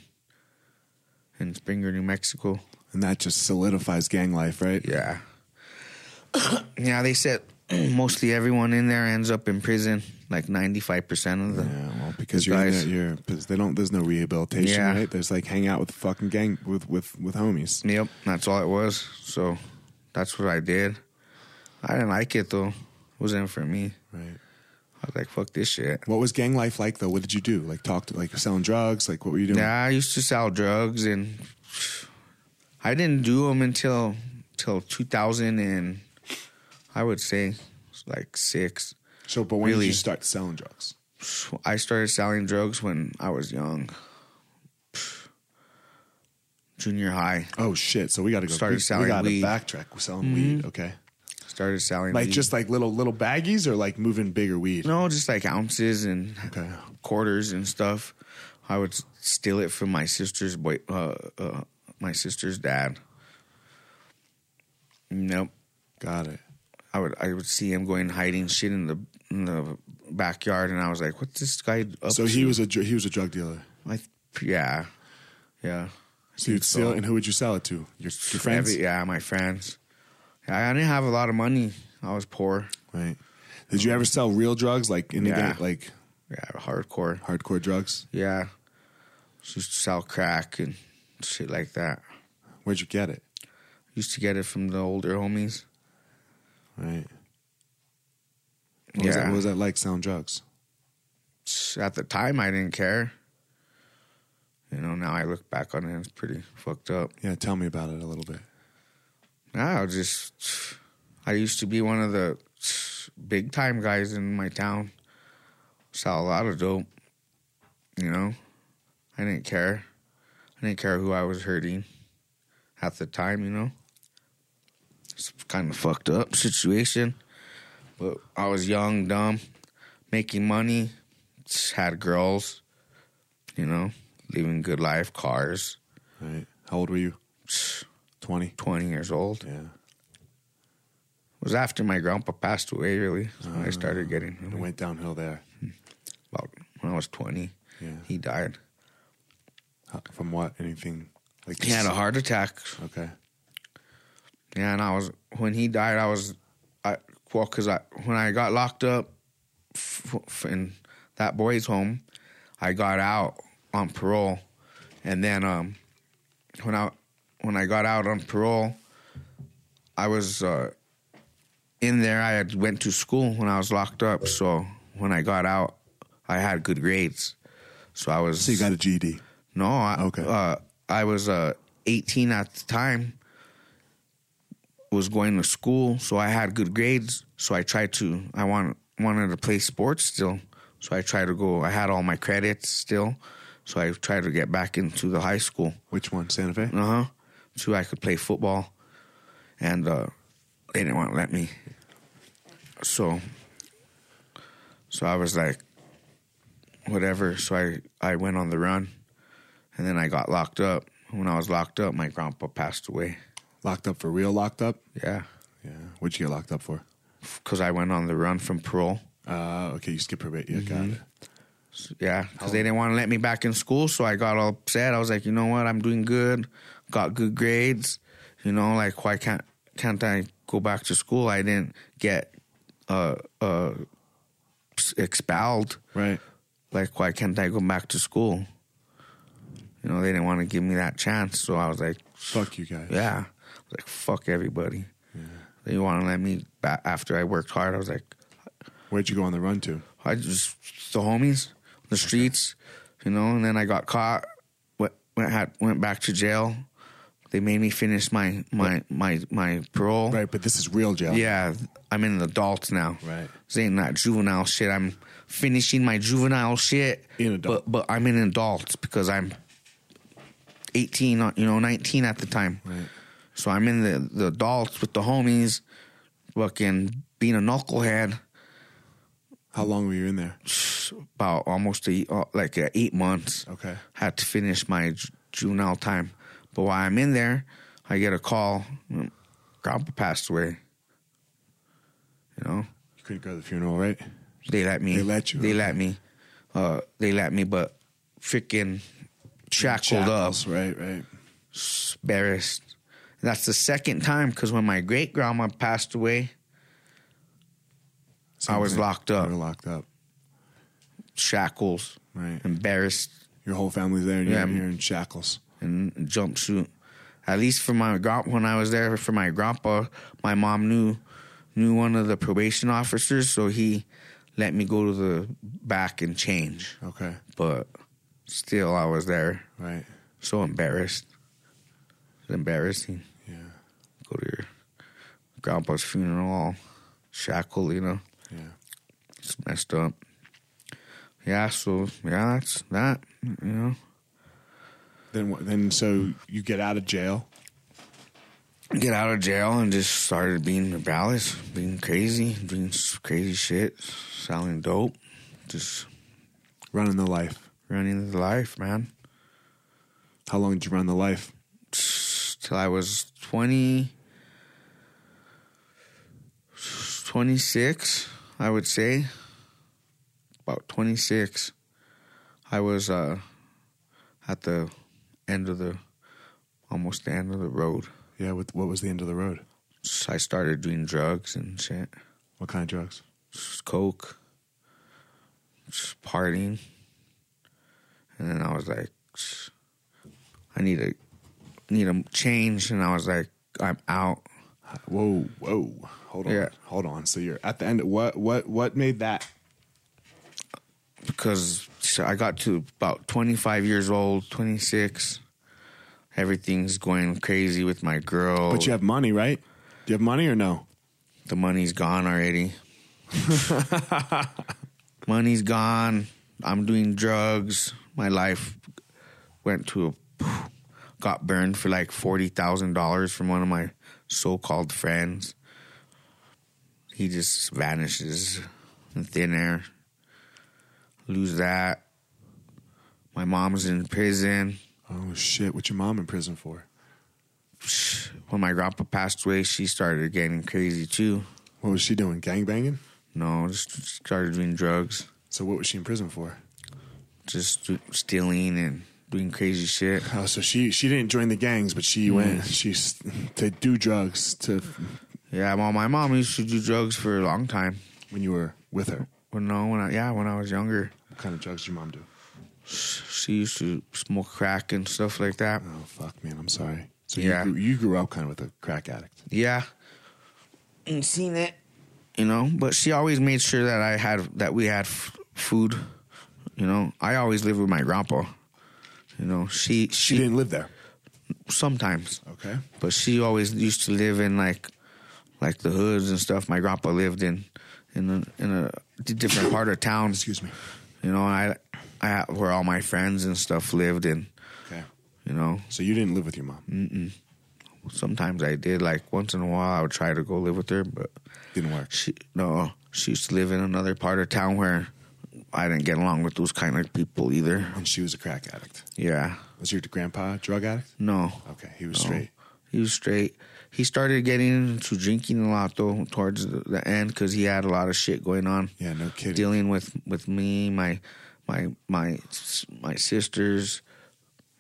[SPEAKER 2] in Springer, New Mexico.
[SPEAKER 3] And that just solidifies gang life, right?
[SPEAKER 2] Yeah, yeah. They said mostly everyone in there ends up in prison, like ninety five percent of them.
[SPEAKER 3] Yeah, well, because
[SPEAKER 2] The
[SPEAKER 3] you're, in
[SPEAKER 2] guys-
[SPEAKER 3] the, you're 'cause they don't. There's no rehabilitation,
[SPEAKER 2] Yeah.
[SPEAKER 3] right? There's like hang out with fucking gang with with with homies.
[SPEAKER 2] Yep, that's all it was. So that's what I did. I didn't like it though. It wasn't for me.
[SPEAKER 3] Right.
[SPEAKER 2] I was like, fuck this shit.
[SPEAKER 3] What was gang life like though? What did you do? Like talk to like selling drugs? Like what were you doing?
[SPEAKER 2] Yeah, I used to sell drugs, and I didn't do them until till 2000, and I would say like six.
[SPEAKER 3] So, but when did
[SPEAKER 2] Really?
[SPEAKER 3] you start selling drugs?
[SPEAKER 2] I started selling drugs when I was young, junior high.
[SPEAKER 3] Oh shit! So we got to go.
[SPEAKER 2] Started
[SPEAKER 3] we,
[SPEAKER 2] selling
[SPEAKER 3] We got
[SPEAKER 2] weed.
[SPEAKER 3] to backtrack. We're selling weed. Okay.
[SPEAKER 2] Started selling
[SPEAKER 3] Like
[SPEAKER 2] weed.
[SPEAKER 3] just like little little baggies or like moving bigger weed.
[SPEAKER 2] no, just like ounces and
[SPEAKER 3] Okay.
[SPEAKER 2] quarters and stuff. I would steal it from my sister's boy, uh, uh, my sister's dad. Nope.
[SPEAKER 3] Got it.
[SPEAKER 2] I would I would see him going hiding shit in the in the backyard, and I was like, "What's this guy up?"
[SPEAKER 3] So
[SPEAKER 2] to?
[SPEAKER 3] he was a dr- he was a drug dealer.
[SPEAKER 2] I th- yeah, yeah.
[SPEAKER 3] So you'd sell, and who would you sell it to? Your, your friends,
[SPEAKER 2] Every- yeah, my friends. I I didn't have a lot of money. I was poor.
[SPEAKER 3] right? Did you ever sell real drugs, like in the
[SPEAKER 2] Yeah.
[SPEAKER 3] gang, like
[SPEAKER 2] Yeah, hardcore.
[SPEAKER 3] hardcore drugs?
[SPEAKER 2] Yeah, used to sell crack and shit like that.
[SPEAKER 3] Where'd you get it?
[SPEAKER 2] Used to get it from the older homies.
[SPEAKER 3] Right. What, was, that,
[SPEAKER 2] Yeah.
[SPEAKER 3] what was that like selling drugs?
[SPEAKER 2] at the time I didn't care. You know, now I look back on it, it's pretty fucked up.
[SPEAKER 3] Yeah, tell me about it a little bit.
[SPEAKER 2] I was just, I used to be one of the big time guys in my town. Saw a lot of dope, you know. I didn't care. I didn't care who I was hurting at the time, you know. It's kind of fucked up situation, but I was young, dumb, making money, had girls, you know, living good life, cars.
[SPEAKER 3] Right. How old were you? Twenty.
[SPEAKER 2] Twenty years old.
[SPEAKER 3] Yeah.
[SPEAKER 2] It was after my grandpa passed away, really. So I started getting
[SPEAKER 3] It
[SPEAKER 2] him
[SPEAKER 3] went downhill there.
[SPEAKER 2] about when I was 20.
[SPEAKER 3] Yeah.
[SPEAKER 2] He died.
[SPEAKER 3] How- From what? Anything? Like
[SPEAKER 2] He had a heart attack.
[SPEAKER 3] Okay.
[SPEAKER 2] Yeah, and I was, when he died, I was, I, well, because I, when I got locked up f- f- in that boy's home, I got out on parole. And then um, when I, when I got out on parole, I was uh, in there. I had went to school when I was locked up. So when I got out, I had good grades. So I was.
[SPEAKER 3] So you got a GD.
[SPEAKER 2] No, I,
[SPEAKER 3] Okay.
[SPEAKER 2] Uh, I was uh, 18 at the time. Was going to school, so I had good grades. So I tried to. I want, wanted to play sports still, so I tried to go. I had all my credits still, so I tried to get back into the high school.
[SPEAKER 3] Which one? Santa Fe.
[SPEAKER 2] Uh huh. So I could play football, and uh, they didn't want to let me. So, so I was like, whatever. So I, I went on the run and then I got locked up. When I was locked up, my grandpa passed away.
[SPEAKER 3] Locked up for real? Locked up?
[SPEAKER 2] Yeah.
[SPEAKER 3] Yeah. What'd you get locked up for?
[SPEAKER 2] Because I went on the run from parole.
[SPEAKER 3] Uh, okay, you skip probate. Yeah,
[SPEAKER 2] Mm-hmm.
[SPEAKER 3] got it.
[SPEAKER 2] Yeah, because they didn't want to let me back in school, so I got all upset. I was like, you know what? I'm doing good, got good grades. You know, like why can't can't I go back to school? I didn't get uh uh expelled.
[SPEAKER 3] Right.
[SPEAKER 2] Like why can't I go back to school? You know, they didn't want to give me that chance, so I was like,
[SPEAKER 3] Fuck you guys.
[SPEAKER 2] yeah, I was like fuck everybody. They want to let me back after I worked hard. I was like,
[SPEAKER 3] Where'd you go on the run to?
[SPEAKER 2] I just the homies, the streets, you know. And then I got caught. Went went, had, went back to jail. They made me finish my my my my parole.
[SPEAKER 3] Right, but this is real jail.
[SPEAKER 2] Yeah, I'm an adult now.
[SPEAKER 3] Right.
[SPEAKER 2] This ain't not juvenile shit. I'm finishing my juvenile shit.
[SPEAKER 3] In adult.
[SPEAKER 2] But but I'm an adult because I'm 18, uh, you know, 19 at the time.
[SPEAKER 3] Right.
[SPEAKER 2] So I'm in the, the adults with the homies, fucking being a knucklehead.
[SPEAKER 3] How long were you in there?
[SPEAKER 2] about almost a, uh, like uh, eight months.
[SPEAKER 3] Okay.
[SPEAKER 2] Had to finish my ju- juvenile time. But while I'm in there, I get a call. mm, Grandpa passed away. You know,
[SPEAKER 3] You couldn't go to the funeral, right?
[SPEAKER 2] they let me.
[SPEAKER 3] They let you,
[SPEAKER 2] They
[SPEAKER 3] okay.
[SPEAKER 2] let me. Uh, they let me, but freaking shackled up,
[SPEAKER 3] Shackles, Right, right.
[SPEAKER 2] embarrassed. That's the second time because when my great grandma passed away, I was
[SPEAKER 3] thing.
[SPEAKER 2] locked
[SPEAKER 3] You
[SPEAKER 2] up,
[SPEAKER 3] were locked up.
[SPEAKER 2] shackles,
[SPEAKER 3] Right.
[SPEAKER 2] embarrassed.
[SPEAKER 3] Your whole family's there and you're,
[SPEAKER 2] Yeah.
[SPEAKER 3] in here in shackles.
[SPEAKER 2] and jumpsuit. At least for my grand- when I was there for my grandpa, my mom knew knew one of the probation officers, so he let me go to the back and change.
[SPEAKER 3] Okay.
[SPEAKER 2] But still, I was there,
[SPEAKER 3] Right.
[SPEAKER 2] so embarrassed. It's embarrassing.
[SPEAKER 3] Yeah.
[SPEAKER 2] Go to your grandpa's funeral, all shackled, you know.
[SPEAKER 3] Yeah.
[SPEAKER 2] It's messed up. Yeah, so yeah, that's that. You know,
[SPEAKER 3] Then what then so you get out of jail.
[SPEAKER 2] get out of jail and just started being rebellious, being crazy, doing s- crazy shit, selling dope, just
[SPEAKER 3] Running the life.
[SPEAKER 2] running the life, man.
[SPEAKER 3] How long did you run the life?
[SPEAKER 2] Till I was 20, 26, I would say. About 26. I was uh, at the end of the, almost the end of the road.
[SPEAKER 3] Yeah, what what was the end of the road?
[SPEAKER 2] S- I started doing drugs and shit.
[SPEAKER 3] What kind of drugs?
[SPEAKER 2] just coke, just partying. And then I was like, I need a need a change. And I was like, I'm out.
[SPEAKER 3] Whoa, whoa. Hold on.
[SPEAKER 2] Yeah.
[SPEAKER 3] Hold on. So you're at the end of what what what made that
[SPEAKER 2] because I got to about 25 years old, 26. Everything's going crazy with my girl.
[SPEAKER 3] But you have money, right? Do you have money or no?
[SPEAKER 2] the money's gone already. money's gone. I'm doing drugs. My life went to a got burned for like forty thousand dollars from one of my so-called friends. He just vanishes in thin air. Lose that. My mom's in prison.
[SPEAKER 3] Oh shit! What's your mom in prison for?
[SPEAKER 2] When my grandpa passed away, she started getting crazy too.
[SPEAKER 3] What was she doing? Gang banging?
[SPEAKER 2] No, just started doing drugs.
[SPEAKER 3] So what was she in prison for?
[SPEAKER 2] just do- stealing and doing crazy shit.
[SPEAKER 3] Oh, so she she didn't join the gangs, but she went she's to do drugs to
[SPEAKER 2] Yeah, well, my mom used to do drugs for a long time.
[SPEAKER 3] when you were with her.
[SPEAKER 2] Well, no, when I yeah, when I was younger,
[SPEAKER 3] What kind of drugs did your mom do?
[SPEAKER 2] she used to smoke crack and stuff like that.
[SPEAKER 3] Oh fuck, man, I'm sorry. So
[SPEAKER 2] Yeah.
[SPEAKER 3] you grew, you grew up kind of with a crack addict.
[SPEAKER 2] Yeah, and seen it, you know. But she always made sure that I had that we had f- food. You know, I always lived with my grandpa. You know, she
[SPEAKER 3] She
[SPEAKER 2] she,
[SPEAKER 3] didn't live there.
[SPEAKER 2] sometimes,
[SPEAKER 3] Okay.
[SPEAKER 2] but she always used to live in like like the hoods and stuff. My grandpa lived in in a, in a different part of town.
[SPEAKER 3] Excuse me.
[SPEAKER 2] you know i i where all my friends and stuff lived and
[SPEAKER 3] Okay.
[SPEAKER 2] you know
[SPEAKER 3] So you didn't live with your mom.
[SPEAKER 2] sometimes i did like once in a while i would try to go live with her but
[SPEAKER 3] Didn't work.
[SPEAKER 2] she no she used to live in another part of town where I didn't get along with those kind of people either.
[SPEAKER 3] And she was a crack addict.
[SPEAKER 2] Yeah,
[SPEAKER 3] Was your grandpa a drug addict?
[SPEAKER 2] no,
[SPEAKER 3] Okay, he was
[SPEAKER 2] No.
[SPEAKER 3] straight.
[SPEAKER 2] he was straight. He started getting into drinking a lot though towards the, the end because he had a lot of shit going on.
[SPEAKER 3] Yeah, no kidding.
[SPEAKER 2] Dealing with with me, my my my s- my sisters,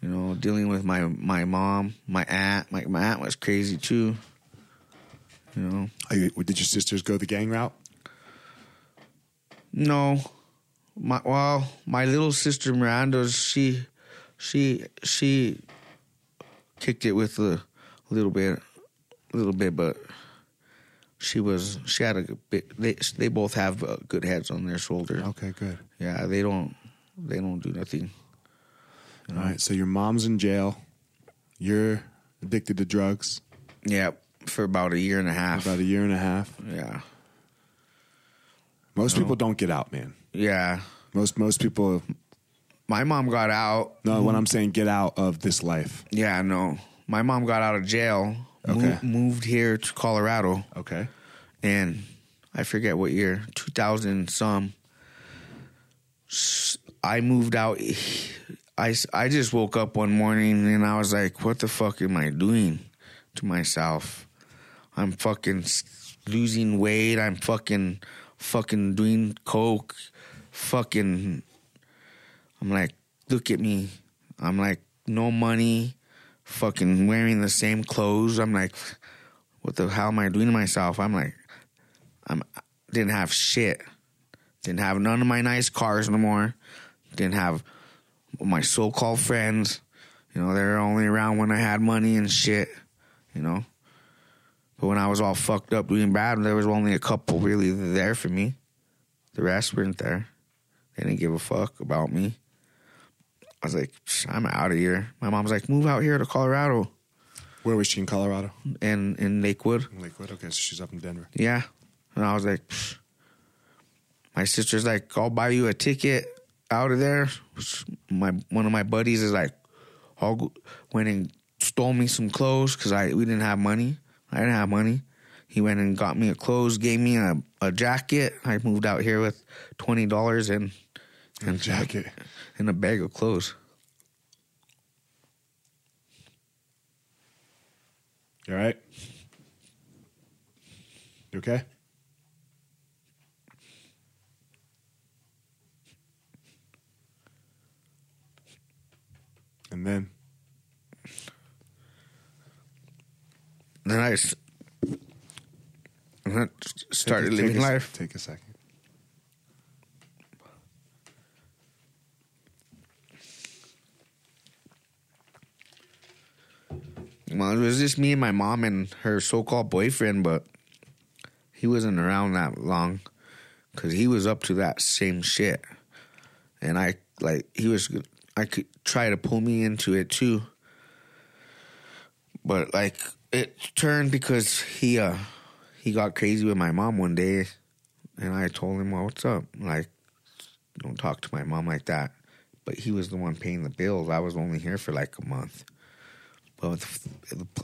[SPEAKER 2] you know, dealing with my my mom, my aunt. My my aunt was crazy too. You know,
[SPEAKER 3] Are you- Did your sisters go the gang route?
[SPEAKER 2] No, my well, my little sister Miranda, she, she, she kicked it with a little bit, a little bit, but she was she had a good bit. They they both have uh, good heads on their shoulders.
[SPEAKER 3] Okay, good.
[SPEAKER 2] Yeah, they don't they don't do nothing.
[SPEAKER 3] All right, so your mom's in jail. You're addicted to drugs
[SPEAKER 2] Yeah, for about a year and a half.
[SPEAKER 3] about a year and a half.
[SPEAKER 2] yeah,
[SPEAKER 3] Most people don't get out, man.
[SPEAKER 2] yeah.
[SPEAKER 3] Most most people
[SPEAKER 2] My mom got out.
[SPEAKER 3] no. When I'm saying get out of this life,
[SPEAKER 2] Yeah, no. My mom got out of jail.
[SPEAKER 3] Okay.
[SPEAKER 2] mo- moved here to Colorado.
[SPEAKER 3] okay.
[SPEAKER 2] and I forget what year, 2000 some. S- I moved out. I, s- I just woke up one morning and I was like, what the fuck am I doing to myself? I'm fucking s- losing weight. I'm fucking, fucking doing coke. Fucking, I'm like, look at me. I'm like, no money. Fucking wearing the same clothes. I'm like, what the hell am I doing to myself? I'm like, I'm didn't have shit. Didn't have none of my nice cars no more. Didn't have my so-called friends. You know, they were only around when I had money and shit. You know, but when I was all fucked up doing bad, there was only a couple really there for me. The rest weren't there. They didn't give a fuck about me. I was like, "Psh, I'm out of here. My mom's like, move out here to Colorado
[SPEAKER 3] Where was she in Colorado?
[SPEAKER 2] and in Lakewood.
[SPEAKER 3] In Lakewood. Okay, so she's up in Denver.
[SPEAKER 2] Yeah. And I was like, "Psh." my sister's like, I'll buy you a ticket out of there. My one of my buddies is like, I'll go, went and stole me some clothes because I we didn't have money. I didn't have money. He went and got me a clothes, gave me a, a jacket. I moved out here with twenty dollars and
[SPEAKER 3] And jacket.
[SPEAKER 2] and a bag of clothes.
[SPEAKER 3] You all right? You okay? And then
[SPEAKER 2] Then I, s- and then started
[SPEAKER 3] Take a- take
[SPEAKER 2] living
[SPEAKER 3] a-
[SPEAKER 2] life.
[SPEAKER 3] Take a second.
[SPEAKER 2] Well, it was just me and my mom and her so-called boyfriend, but he wasn't around that long because he was up to that same shit, and I like he was. I could try to pull me into it too, but like it turned because he uh he got crazy with my mom one day, and I told him, "Well, what's up? Like, don't talk to my mom like that." But he was the one paying the bills. I was only here for like a month but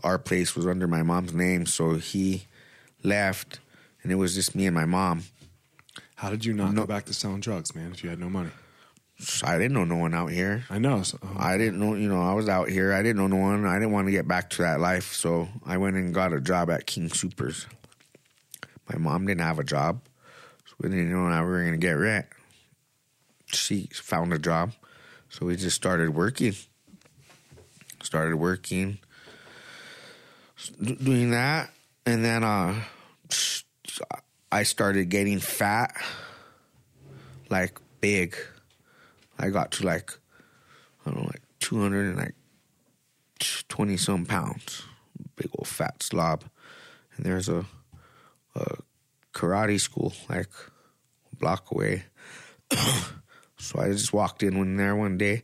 [SPEAKER 2] our place was under my mom's name, so he left, and it was just me and my mom.
[SPEAKER 3] How did you not go back to selling drugs, man? If you had no money,
[SPEAKER 2] So I didn't know no one out here.
[SPEAKER 3] I know. So, oh,
[SPEAKER 2] I didn't know, you know, I was out here. I didn't know no one. I didn't want to get back to that life, so I went and got a job at King Supers. My mom didn't have a job, so we didn't know how we were going to get rent. She found a job, so we just started working. Started working, s- d- doing that, and then uh, I started getting fat, like big. I got to like I don't know, like 200 and like 20 some pounds. Big old fat slob. And there's a, a karate school like a block away. so I just walked in one there one day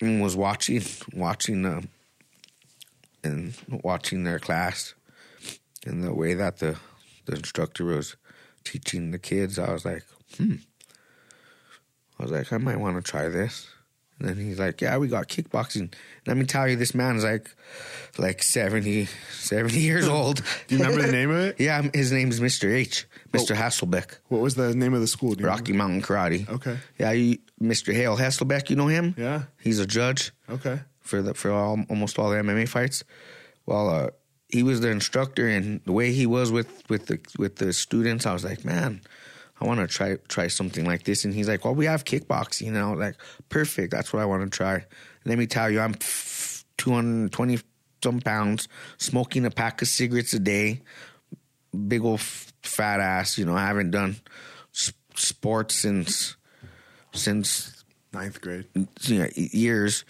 [SPEAKER 2] and was watching, watching, uh, and watching their class. And the way that the, the instructor was teaching the kids, I was like, hmm. I was like, I might want to try this. And then he's like, yeah, we got kickboxing. Let me tell you, this man is like, like 70, 70 years old.
[SPEAKER 1] Do you remember the name of it?
[SPEAKER 2] Yeah, his name's Mr. H,
[SPEAKER 1] Oh.
[SPEAKER 2] Mr. Hasselbeck,
[SPEAKER 1] What was the name of the school? Do you
[SPEAKER 2] Rocky
[SPEAKER 1] remember?
[SPEAKER 2] Mountain Karate.
[SPEAKER 1] Mm-hmm. Okay.
[SPEAKER 2] Yeah, you, Mr. Hale Hasselbeck, you know him?
[SPEAKER 1] Yeah.
[SPEAKER 2] He's a judge
[SPEAKER 1] Okay.
[SPEAKER 2] for the for all, almost all the MMA fights. Well, uh, he was the instructor, and the way he was with with the with the students, I was like, man, I want to try try something like this. And he's like, well, we have kickboxing, and I was like, perfect, that's what I want to try. Let me tell you, I'm two hundred twenty some pounds, smoking a pack of cigarettes a day, big old f- fat ass. You know, I haven't done s- sports since since
[SPEAKER 1] Ninth grade.
[SPEAKER 2] you know, e- years.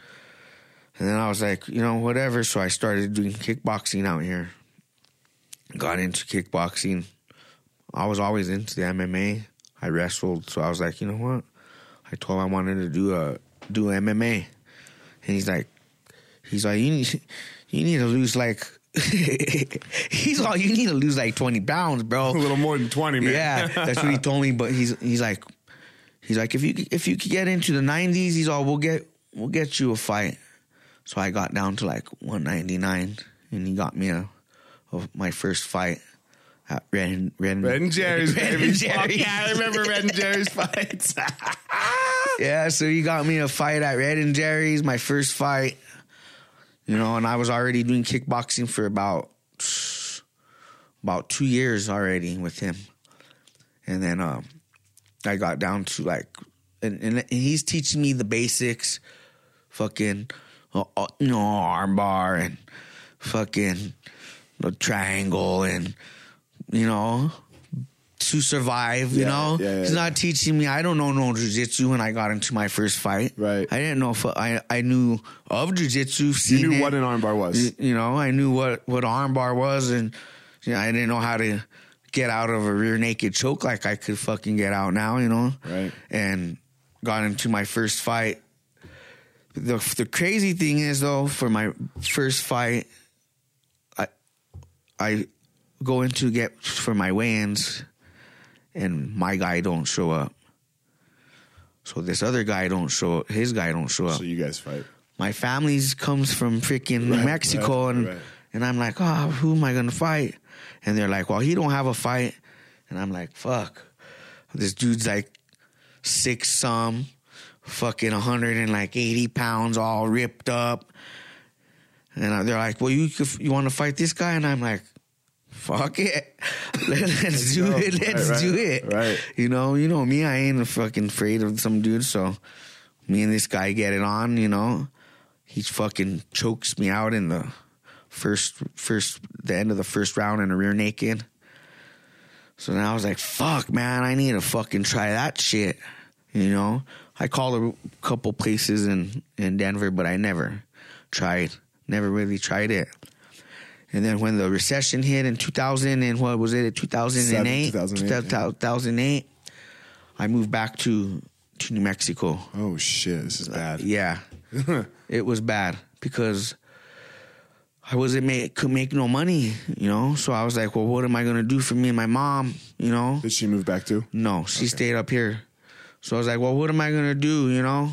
[SPEAKER 2] And then I was like, you know, whatever. So I started doing kickboxing out here. Got into kickboxing. I was always into the MMA. I wrestled, so I was like, you know what? I told him I wanted to do a do MMA, and he's like, he's like, you need you need to lose like. he's all you need to lose like twenty pounds, bro.
[SPEAKER 1] A little more than 20, man.
[SPEAKER 2] Yeah, that's what he told me. But he's he's like, he's like, if you if you could get into the nineties, he's all we'll get we'll get you a fight. So I got down to like one ninety nine, and he got me a, a my first fight at Red and- Red, and-
[SPEAKER 1] Red and Jerry's,
[SPEAKER 2] Red and
[SPEAKER 1] baby. Fuck
[SPEAKER 2] Jerry's.
[SPEAKER 1] yeah, I remember Red and Jerry's fights.
[SPEAKER 2] yeah, so he got me a fight at Red and Jerry's, my first fight. You know, and I was already doing kickboxing for about about two years already with him. And then um I got down to like and, and he's teaching me the basics, fucking uh, uh, you know, armbar and fucking the triangle and you know to survive, you
[SPEAKER 3] Yeah,
[SPEAKER 2] know?
[SPEAKER 3] yeah, yeah,
[SPEAKER 2] He's
[SPEAKER 3] yeah.
[SPEAKER 2] not teaching me. I don't know no jujitsu when I got into my first fight.
[SPEAKER 3] Right.
[SPEAKER 2] I didn't know if I I knew of jujitsu.
[SPEAKER 1] You
[SPEAKER 2] seen
[SPEAKER 1] knew
[SPEAKER 2] it.
[SPEAKER 1] what an armbar was.
[SPEAKER 2] Y- You know, I knew what what armbar was, and you know, I didn't know how to get out of a rear naked choke like I could fucking get out now. You know,
[SPEAKER 3] Right.
[SPEAKER 2] And got into my first fight. The the crazy thing is though, for my first fight, I I go in to get for my weigh-ins, and my guy don't show up. So this other guy don't show up. His guy don't show up
[SPEAKER 3] So you guys fight.
[SPEAKER 2] my family's comes from freaking
[SPEAKER 3] Right,
[SPEAKER 2] Mexico
[SPEAKER 3] right,
[SPEAKER 2] and
[SPEAKER 3] right.
[SPEAKER 2] and I'm like, oh, who am I gonna fight? And they're like, well, he don't have a fight, and I'm like, fuck, this dude's like six some, fucking 180 pounds, all ripped up, and I- they're like, well, you could, you want to fight this guy? And I'm like, fuck it, Let, us do
[SPEAKER 3] go.
[SPEAKER 2] it,
[SPEAKER 3] Right,
[SPEAKER 2] let's
[SPEAKER 3] right,
[SPEAKER 2] do it,
[SPEAKER 3] right.
[SPEAKER 2] You know, you know me, I ain't fucking afraid of some dude, so me and this guy get it on, you know. He fucking chokes me out in the first first the end of the first round in a rear naked. So now I was like, fuck man, I need to fucking try that shit. You know? I called a couple places in, in Denver, but I never tried. Never really tried it. And then when the recession hit in 2000 and what was it, 2008?
[SPEAKER 3] 2008, yeah.
[SPEAKER 2] 2008. I moved back to to New Mexico.
[SPEAKER 3] Oh shit, this is bad.
[SPEAKER 2] Uh, Yeah, it was bad because I wasn't make could make no money, you know. So I was like, well, what am I gonna do for me and my mom, you know?
[SPEAKER 3] Did she move back too?
[SPEAKER 2] No, she stayed up here. So I was like, well, what am I gonna do, you know?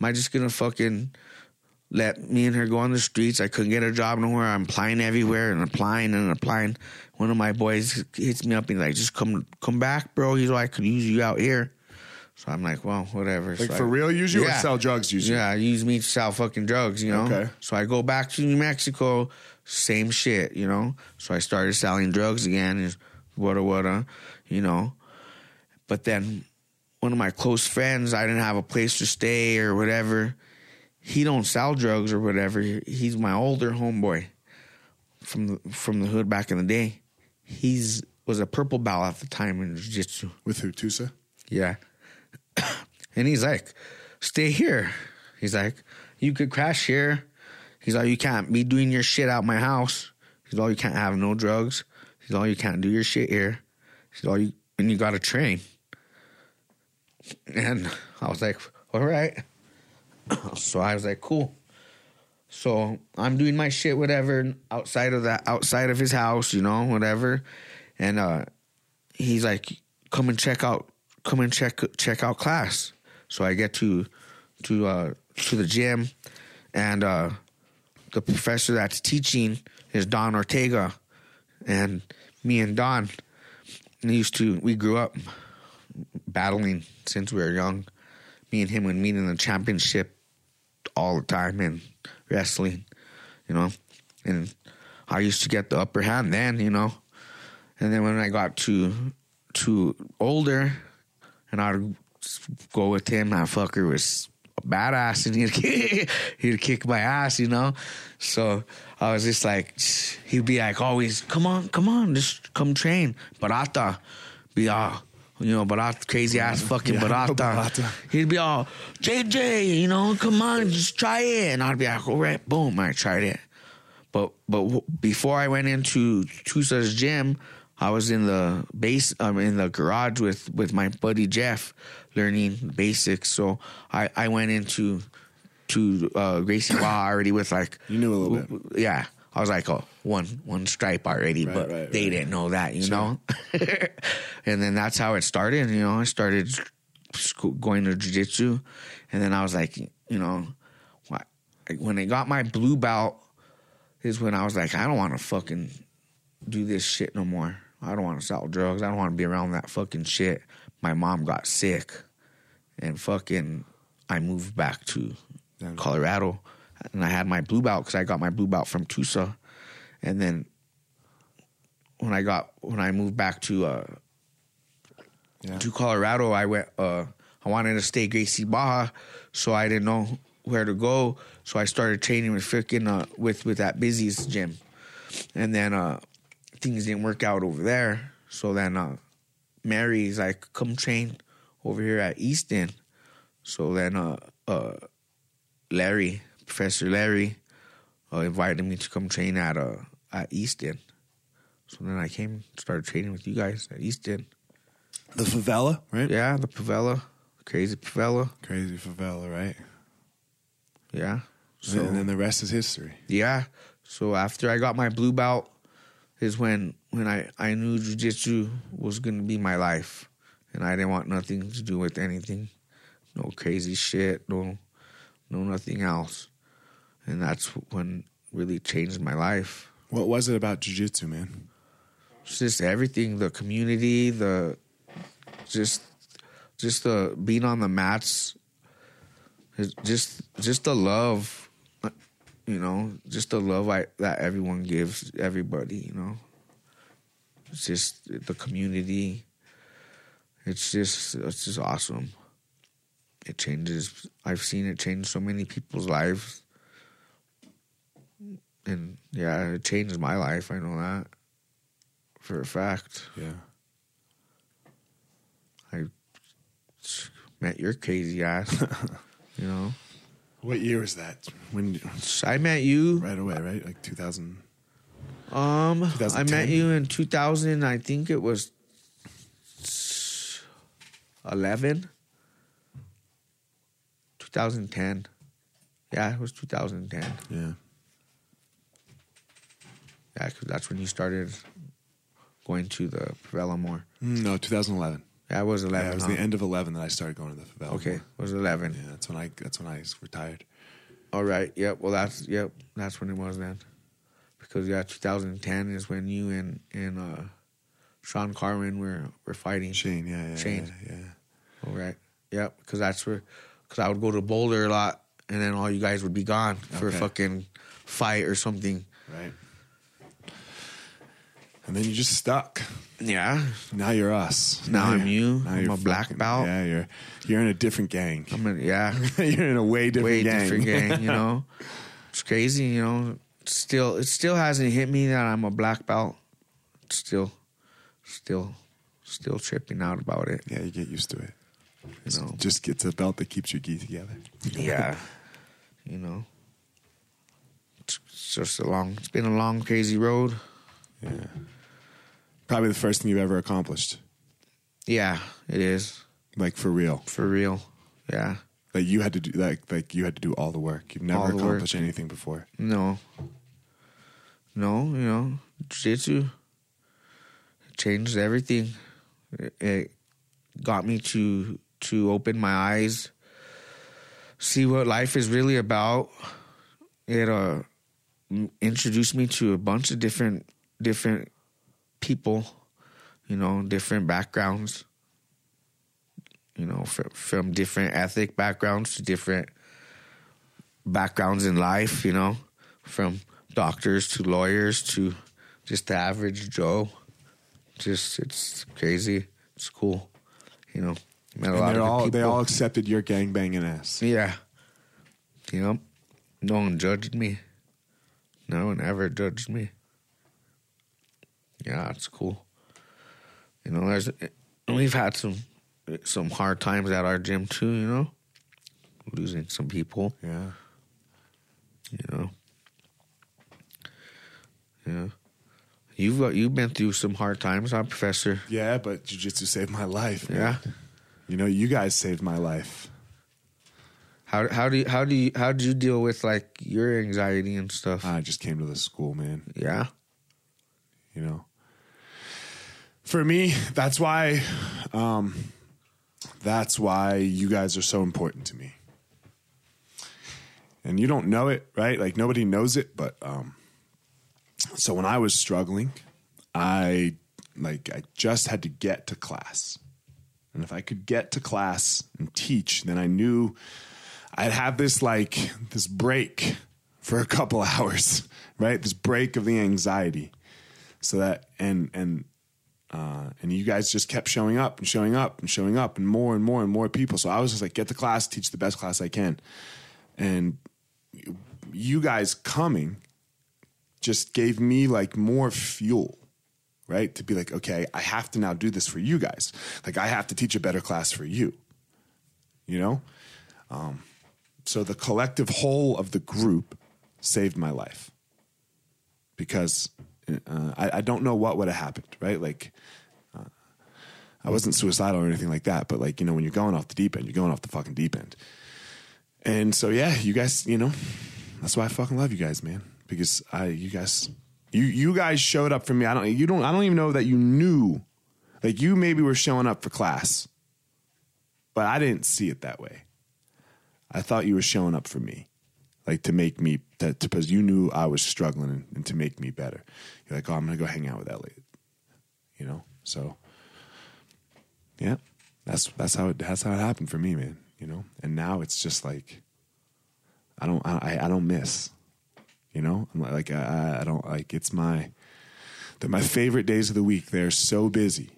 [SPEAKER 2] Am I just gonna fucking let me and her go on the streets? I couldn't get a job nowhere. I'm applying everywhere and applying and applying. One of my boys hits me up and like, just come come back, bro. He's like, I could use you out here. So I'm like, well, whatever.
[SPEAKER 1] Like
[SPEAKER 2] So I-
[SPEAKER 1] for real, use you or
[SPEAKER 2] Yeah.
[SPEAKER 1] sell drugs, use you?
[SPEAKER 2] yeah, I use me to sell fucking drugs, you know?
[SPEAKER 3] Okay.
[SPEAKER 2] So I go back to New Mexico, same shit, you know? So I started selling drugs again, and wada wada, you know? But then one of my close friends, I didn't have a place to stay or whatever. He don't sell drugs or whatever. He's my older homeboy from the, from the hood back in the day. He's was a purple belt at the time in jiu-jitsu.
[SPEAKER 3] With who? Tusa?
[SPEAKER 2] Yeah. and he's like, stay here. He's like, you could crash here. He's like, you can't be doing your shit out my house. He's all you can't have no drugs. He's all you can't do your shit here. He's all you and you gotta train. And I was like, all right. so I was like, cool. So I'm doing my shit, whatever, outside of that, outside of his house, you know, whatever. And uh he's like, "Come and check out, come and check check out class." So I get to to uh, to the gym, and uh, the professor that's teaching is Don Ortega, and me and Don used to we grew up battling since we were young. Me and him would meet in the championship all the time in wrestling, you know, and I used to get the upper hand then, you know, and then when I got to to older, and I'd go with him. That fucker was a badass, and he'd kick, he'd kick my ass, you know. So I was just like, he'd be like, always, come on, come on, just come train, barata, be all. You know, barata, crazy ass fucking
[SPEAKER 3] Yeah, I know
[SPEAKER 2] barata.
[SPEAKER 3] Barata.
[SPEAKER 2] He'd be all, JJ, you know, come on, just try it. And I'd be like, all right, boom, I tried it. But but w- before I went into Chusa's gym, I was in the base. I'm in the garage with with my buddy Jeff, learning basics. So I I went into to uh, Gracie Law already with like
[SPEAKER 3] You knew a little bit.
[SPEAKER 2] w- yeah. I was like, oh, one one stripe already,
[SPEAKER 3] Right,
[SPEAKER 2] but
[SPEAKER 3] right,
[SPEAKER 2] they
[SPEAKER 3] right.
[SPEAKER 2] didn't know that, you know. and then that's how it started. You know, I started school, going to jujitsu, and then I was like, you know, why- like, when I got my blue belt, is when I was like, I don't want to fucking do this shit no more. I don't want to sell drugs. I don't want to be around that fucking shit. My mom got sick, and fucking, I moved back to
[SPEAKER 3] Damn.
[SPEAKER 2] Colorado, and I had my blue belt because I got my blue belt from Tucson, and then when I got when I moved back to uh,
[SPEAKER 3] Yeah.
[SPEAKER 2] to Colorado, I went. Uh, I wanted to stay Gracie Baja, so I didn't know where to go. So I started training with freaking uh, with with that busiest gym, and then uh, things didn't work out over there. So then uh, Mary's like, "Come train over here at Easton." So then uh, uh, Larry, Professor Larry, uh, invited me to come train at uh, at Easton. So then I came, started training with you guys at Easton.
[SPEAKER 3] The favela, right?
[SPEAKER 2] Yeah, the favela, crazy favela.
[SPEAKER 3] Crazy favela, right?
[SPEAKER 2] Yeah. So
[SPEAKER 3] and then the rest is history.
[SPEAKER 2] yeah. So after I got my blue belt, is when when I I knew jujitsu was gonna be my life, and I didn't want nothing to do with anything, no crazy shit, no no nothing else, and that's when really changed my life.
[SPEAKER 3] What was it about jujitsu, man?
[SPEAKER 2] It's just everything the community the just just the being on the mats It's just just the love you know just the love I, that everyone gives everybody you know it's just the community it's just it's just awesome it changes i've seen it change so many people's lives and yeah it changed my life i know that for a fact
[SPEAKER 3] Yeah.
[SPEAKER 2] met your crazy ass. you know,
[SPEAKER 3] What year was that? When
[SPEAKER 2] So I met you.
[SPEAKER 3] right away, right? Like 2000.
[SPEAKER 2] Um, I
[SPEAKER 3] 2010?
[SPEAKER 2] met you in 2000. I think it was 11. 2010. Yeah, it was 2010. Yeah,
[SPEAKER 3] Yeah.
[SPEAKER 2] 'cause that's when you started going to the favela more.
[SPEAKER 3] Mm, No, 2011.
[SPEAKER 2] Yeah, it was 11.
[SPEAKER 3] Yeah, it was
[SPEAKER 2] huh?
[SPEAKER 3] the end of 11 that I started going to the favela.
[SPEAKER 2] Uh-huh. Okay, it was 11.
[SPEAKER 3] Yeah, that's when I that's when I retired.
[SPEAKER 2] All right. Yep. Well, that's yep. That's when it was then, because yeah, 2010 is when you and and uh, Sean Carmen were were fighting.
[SPEAKER 3] Shane, yeah, yeah,
[SPEAKER 2] Shane.
[SPEAKER 3] yeah.
[SPEAKER 2] All right. Yep. Because that's where, because I would go to Boulder a lot, and then all you guys would be gone for
[SPEAKER 3] Okay.
[SPEAKER 2] a fucking fight or something.
[SPEAKER 3] yeah. Right. And then you just stuck.
[SPEAKER 2] Yeah.
[SPEAKER 3] Now you're us.
[SPEAKER 2] Now I'm you.
[SPEAKER 3] now
[SPEAKER 2] I'm
[SPEAKER 3] you're
[SPEAKER 2] a black
[SPEAKER 3] fucking-
[SPEAKER 2] belt.
[SPEAKER 3] Yeah, you're you're in a different gang.
[SPEAKER 2] I mean, yeah.
[SPEAKER 3] you're in a way different
[SPEAKER 2] way
[SPEAKER 3] gang.
[SPEAKER 2] different gang. You know, it's crazy. You know, still it still hasn't hit me that I'm a black belt. Still, still, still tripping out about it.
[SPEAKER 3] yeah, you get used to it.
[SPEAKER 2] You know.
[SPEAKER 3] Just gets a belt that keeps your gi together.
[SPEAKER 2] yeah, you know, it's it's just a long. It's been a long, crazy road.
[SPEAKER 3] Yeah. Probably the first thing you've ever accomplished.
[SPEAKER 2] Yeah, it is
[SPEAKER 3] Like for real.
[SPEAKER 2] for real. Yeah,
[SPEAKER 3] Like you had to do like like you had to do all the work. You've never
[SPEAKER 2] All the work.
[SPEAKER 3] accomplished anything before.
[SPEAKER 2] no, no, you know, jiu-jitsu changed everything. It- It got me to to open my eyes, see what life is really about. It uh, m- introduced me to a bunch of different different people, you know, different backgrounds, you know, from, from different ethnic backgrounds to different backgrounds in life, you know, from doctors to lawyers to just the average Joe. Just it's crazy. It's cool, you know. Met a
[SPEAKER 3] And
[SPEAKER 2] lot
[SPEAKER 3] they're
[SPEAKER 2] of good
[SPEAKER 3] all, they
[SPEAKER 2] people.
[SPEAKER 3] all accepted your gangbanging ass.
[SPEAKER 2] Yeah. Yep. No one judged me. No one ever judged me. Yeah, it's cool. You know, there's we've had some some hard times at our gym too. You know, losing some people.
[SPEAKER 3] Yeah.
[SPEAKER 2] You know. Yeah. You've uh, you've been through some hard times, huh, Professor?
[SPEAKER 3] Yeah, but jujitsu saved my life. man.
[SPEAKER 2] Yeah.
[SPEAKER 3] You know, you guys saved my life.
[SPEAKER 2] How how do you, how do you how do you deal with like your anxiety and stuff?
[SPEAKER 3] I just came to the school, man.
[SPEAKER 2] yeah.
[SPEAKER 3] you know for me that's why um that's why you guys are so important to me and you don't know it right like nobody knows it but um so when i was struggling i like i just had to get to class and if i could get to class and teach then i knew I'd have this like this break for a couple hours, right? This break of the anxiety. So that and and uh and you guys just kept showing up and showing up and showing up and more and more and more people. So I was just like get the class, teach the best class I can. And you guys coming just gave me like more fuel right to be like okay i have to now do this for you guys like i have to teach a better class for you you know Um, so the collective whole of the group saved my life because uh, I, I don't know what would have happened, right? Like, uh, I wasn't suicidal or anything like that, but like, you know, when you're going off the deep end, you're going off the fucking deep end. And so, yeah, you guys, you know, that's why I fucking love you guys, man, because I, you guys, you, you guys showed up for me. I don't, you don't, I don't even know that you knew, like, you maybe were showing up for class, but I didn't see it that way. I thought you were showing up for me, like to make me that because you knew I was struggling and, and to make me better. You're like, oh, I'm gonna go hang out with Elliot, you know. So, yeah, that's that's how it that's how it happened for me, man. You know, and now it's just like I don't I I don't miss, you know. I'm like, like I I- I don't like it's my they're my favorite days of the week. They're so busy,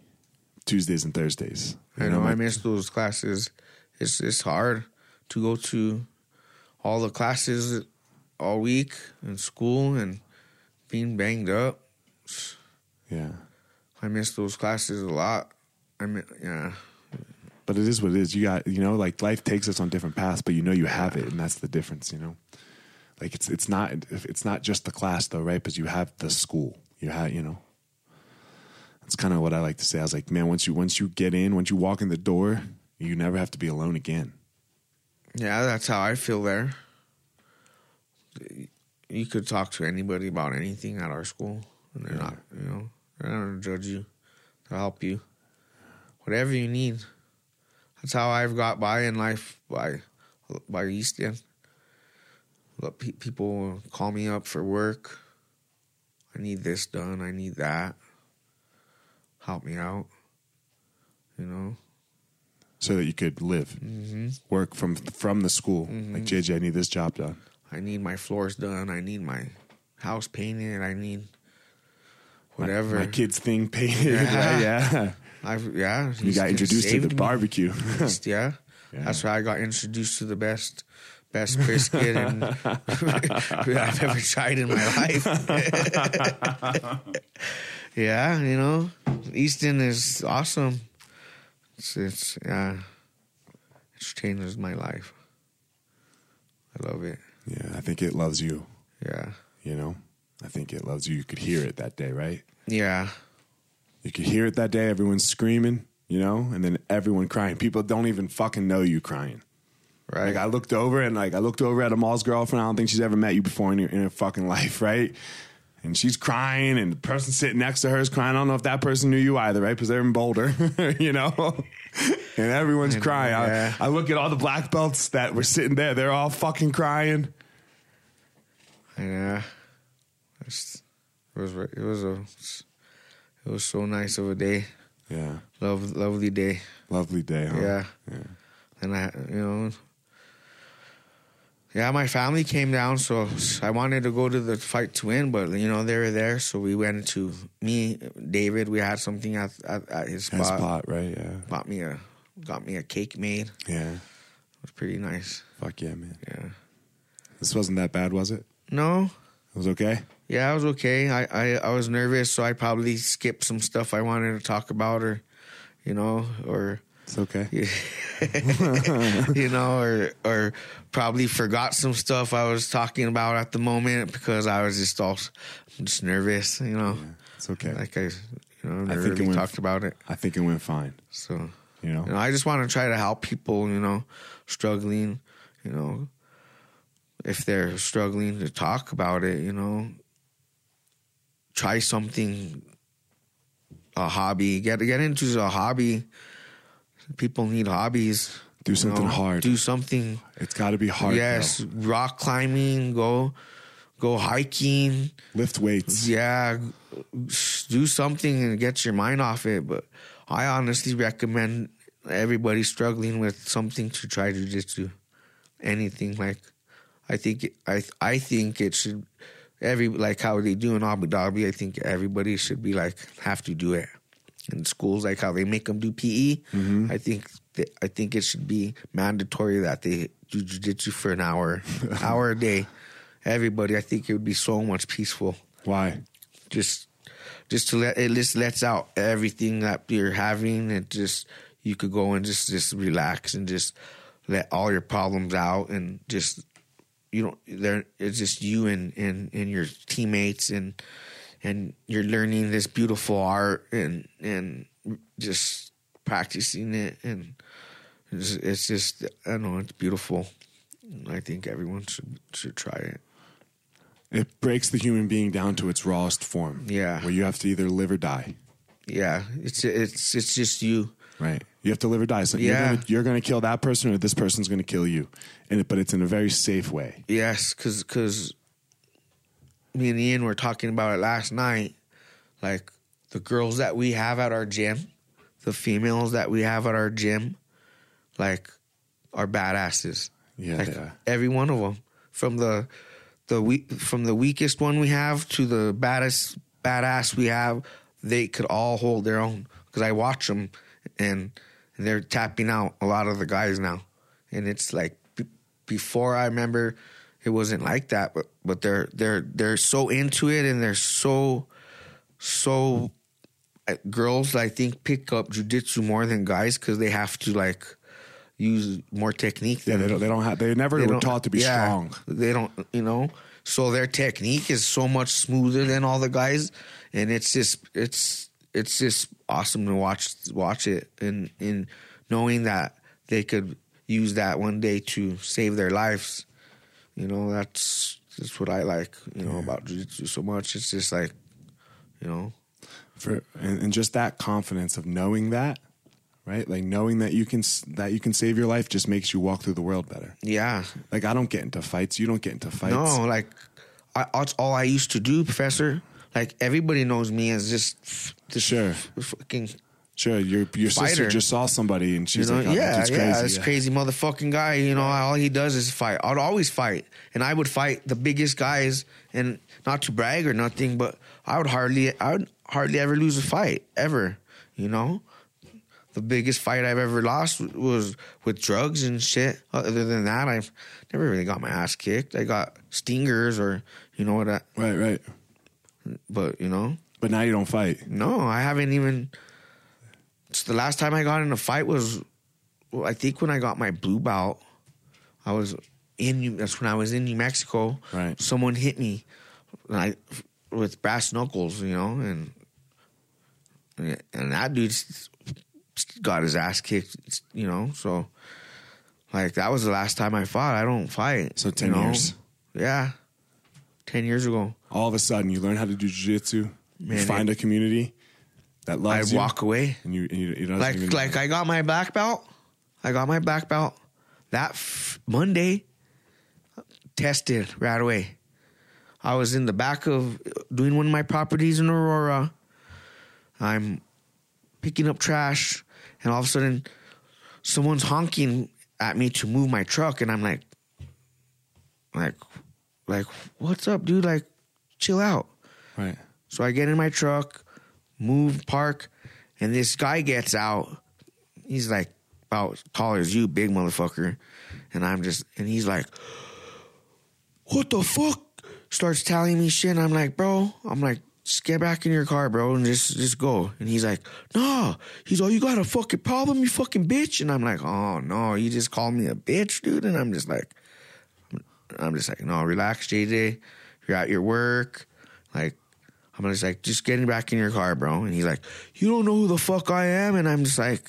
[SPEAKER 3] Tuesdays and Thursdays.
[SPEAKER 2] I
[SPEAKER 3] You
[SPEAKER 2] know
[SPEAKER 3] my-
[SPEAKER 2] I miss those classes. It's it's hard to go to all the classes all week in school and being banged up.
[SPEAKER 3] yeah.
[SPEAKER 2] I miss those classes a lot. I mean, yeah,
[SPEAKER 3] but it is what it is. You got you know, like life takes us on different paths, but you know you have it, and that's the difference. You know, like it's it's not it's not just the class though, right? Because you have the school. You have you know. That's kind of what I like to say. I was like, man, once you once you get in, once you walk in the door, you never have to be alone again.
[SPEAKER 2] yeah. That's how I feel there. You could talk to anybody about anything at our school, and they're not, you know, they're not gonna judge you. They'll help you, whatever you need. That's how I've got by in life by by East End. Look, pe- people call me up for work. I need this done. I need that. Help me out. You know.
[SPEAKER 3] So that you could live,
[SPEAKER 2] Mm-hmm.
[SPEAKER 3] work from from the school. Like JJ, I need this job done.
[SPEAKER 2] I need my floors done. I need my house painted. I need whatever.
[SPEAKER 3] My kids thing painted.
[SPEAKER 2] Yeah.
[SPEAKER 3] right? yeah.
[SPEAKER 2] I've, yeah,
[SPEAKER 3] You got introduced to the
[SPEAKER 2] barbecue.
[SPEAKER 3] barbecue.
[SPEAKER 2] yeah. that's why I got introduced to the best, best brisket and I've ever tried in my life. yeah, you know, Easton is awesome. It's, it's yeah, it's changed my life. I love it.
[SPEAKER 3] yeah, I think it loves you.
[SPEAKER 2] Yeah,
[SPEAKER 3] You know, I think it loves you. You could hear it that day, right?
[SPEAKER 2] yeah.
[SPEAKER 3] You could hear it that day. Everyone's screaming, you know, and then everyone crying. People don't even fucking know you crying.
[SPEAKER 2] Right.
[SPEAKER 3] Like I looked over and like I looked over at Amal's girlfriend. I don't think she's ever met you before in your in her fucking life, right? and she's crying, and the person sitting next to her is crying. I don't know if that person knew you either, right? Because they're in Boulder, you know? and everyone's crying. I-
[SPEAKER 2] Yeah.
[SPEAKER 3] I, look at all the black belts that were sitting there, they're all fucking crying.
[SPEAKER 2] Yeah, It's- it was re- it was a it was so nice of a day,
[SPEAKER 3] Yeah.
[SPEAKER 2] Love, lovely day.
[SPEAKER 3] Lovely day, huh?
[SPEAKER 2] Oh, Yeah. And I, you know, yeah, my family came down, so I wanted to go to the fight to win, but you know they were there, so we went to me, David. We had something at at, at his spot.
[SPEAKER 3] That's pot, right? Yeah.
[SPEAKER 2] Bought me a got me a cake made. It
[SPEAKER 3] Yeah.
[SPEAKER 2] was pretty nice.
[SPEAKER 3] Fuck yeah, man.
[SPEAKER 2] Yeah.
[SPEAKER 3] This wasn't that bad, was it?
[SPEAKER 2] No.
[SPEAKER 3] It was okay?
[SPEAKER 2] Yeah, I was okay. I, I, I was nervous, so I probably skipped some stuff I wanted to talk about, or you know, or
[SPEAKER 3] It's okay.
[SPEAKER 2] you know, or or probably forgot some stuff I was talking about at the moment because I was just all s- just nervous, you know.
[SPEAKER 3] It's okay.
[SPEAKER 2] Like I, you know,
[SPEAKER 3] I
[SPEAKER 2] never
[SPEAKER 3] think it
[SPEAKER 2] really
[SPEAKER 3] went-
[SPEAKER 2] talked about it.
[SPEAKER 3] I think it went fine,
[SPEAKER 2] So
[SPEAKER 3] you know?
[SPEAKER 2] you know, I just want to try to help people, you know, struggling, you know, if they're struggling to talk about it, you know, try something, a hobby, get get into a hobby. People need hobbies.
[SPEAKER 3] Do
[SPEAKER 2] you
[SPEAKER 3] something
[SPEAKER 2] know.
[SPEAKER 3] hard.
[SPEAKER 2] Do something.
[SPEAKER 3] It's got to be hard.
[SPEAKER 2] yes,
[SPEAKER 3] though.
[SPEAKER 2] rock climbing. Go, go hiking.
[SPEAKER 3] Lift weights.
[SPEAKER 2] Yeah, do something and get your mind off it. But I honestly recommend everybody struggling with something to try to just do anything. Like I think I I think it should every like how they do in Abu Dhabi. I think everybody should be like have to do it in schools, like how they make them do PE. I think that, I think it should be mandatory that they do jujitsu for an hour, hour a day. Everybody, I think it would be so much peaceful
[SPEAKER 3] Why?
[SPEAKER 2] just just to let it just lets out everything that you're having and just you could go and just just relax and just let all your problems out and just you don't there it's just you and and and your teammates and and you're learning this beautiful art and and just practicing it and it's, it's just I don't know it's beautiful. I think everyone should should try it.
[SPEAKER 3] It breaks the human being down to its rawest form.
[SPEAKER 2] Yeah.
[SPEAKER 3] Where you have to either live or die.
[SPEAKER 2] Yeah, it's it's it's just you.
[SPEAKER 3] Right. You have to live or die. So
[SPEAKER 2] Yeah.
[SPEAKER 3] you're gonna you're gonna kill that person or this person's gonna kill you. And it, but it's in a very safe way.
[SPEAKER 2] Yes, because me and Ian were talking about it last night. Like the girls that we have at our gym, the females that we have at our gym, like are badasses.
[SPEAKER 3] Yeah,
[SPEAKER 2] Like,
[SPEAKER 3] they are.
[SPEAKER 2] every one of them, from the the weak from the weakest one we have to the baddest badass we have, they could all hold their own. Because I watch them, and they're tapping out a lot of the guys now, and it's like b- before I remember, it wasn't like that. But but they're they're they're so into it, and they're so so uh, girls I think pick up jujitsu more than guys because they have to like use more technique
[SPEAKER 3] Yeah,
[SPEAKER 2] than
[SPEAKER 3] they don't they don't have they never
[SPEAKER 2] they
[SPEAKER 3] were
[SPEAKER 2] don't-
[SPEAKER 3] taught to be
[SPEAKER 2] yeah,
[SPEAKER 3] strong.
[SPEAKER 2] They don't, you know. So their technique is so much smoother than all the guys, and it's just it's it's just awesome to watch watch it and and knowing that they could use that one day to save their lives. You know, that's that's what I like. You know about jujitsu so much. It's just like, you know,
[SPEAKER 3] For and, and just that confidence of knowing that, right? Like knowing that you can s- that you can save your life just makes you walk through the world better.
[SPEAKER 2] yeah,
[SPEAKER 3] Like I don't get into fights. You don't get into fights.
[SPEAKER 2] No, like I, that's all I used to do, Professor. Like everybody knows me as just f- this
[SPEAKER 3] Sure.
[SPEAKER 2] f- fucking
[SPEAKER 3] Sure, your your sister
[SPEAKER 2] Fighter.
[SPEAKER 3] just saw somebody and
[SPEAKER 2] you
[SPEAKER 3] she's
[SPEAKER 2] know,
[SPEAKER 3] like, oh,
[SPEAKER 2] yeah,
[SPEAKER 3] that dude's
[SPEAKER 2] yeah,
[SPEAKER 3] crazy.
[SPEAKER 2] this
[SPEAKER 3] Yeah.
[SPEAKER 2] crazy motherfucking guy. You know, all he does is fight. I'd always fight, and I would fight the biggest guys, and not to brag or nothing, but I would hardly, I would hardly ever lose a fight ever. You know, the biggest fight I've ever lost w- was with drugs and shit. Other than that, I've never really got my ass kicked. I got stingers or you know what, I,
[SPEAKER 3] Right, right.
[SPEAKER 2] but you know.
[SPEAKER 3] But now you don't fight.
[SPEAKER 2] No, I haven't even. It's the last time I got in a fight was, well, I think when I got my blue belt, I was in. New- That's when I was in New Mexico.
[SPEAKER 3] Right.
[SPEAKER 2] Someone hit me, and I with brass knuckles, you know, and and that dude s- got his ass kicked, you know. So, like, that was the last time I fought. I don't fight.
[SPEAKER 3] So
[SPEAKER 2] you
[SPEAKER 3] 10
[SPEAKER 2] know?
[SPEAKER 3] years.
[SPEAKER 2] Yeah. ten years ago.
[SPEAKER 3] All of a sudden, you learn how to do jujitsu, you
[SPEAKER 2] Man,
[SPEAKER 3] find a community that
[SPEAKER 2] I
[SPEAKER 3] loves you,
[SPEAKER 2] walk away.
[SPEAKER 3] and you, and you, you don't
[SPEAKER 2] Like
[SPEAKER 3] even-
[SPEAKER 2] like I got my black belt. I got my black belt that f- Monday. Tested right away. I was in the back of doing one of my properties in Aurora. I'm picking up trash, and all of a sudden, someone's honking at me to move my truck, and I'm like, like, like, what's up, dude? Like, chill out.
[SPEAKER 3] right.
[SPEAKER 2] So I get in my truck, move, park, and this guy gets out. He's like about tall as you, big motherfucker. And I'm just and he's like, What the fuck? Starts telling me shit. And I'm like, bro, I'm like, just get back in your car, bro, and just just go. And he's like, nah. He's all you got a fucking problem, you fucking bitch. And I'm like, oh no, you just called me a bitch, dude. And I'm just like, I'm just like, no, relax, JJ. You're at your work. Like, I'm just like, just getting back in your car, bro. And he's like, you don't know who the fuck I am. And I'm just like,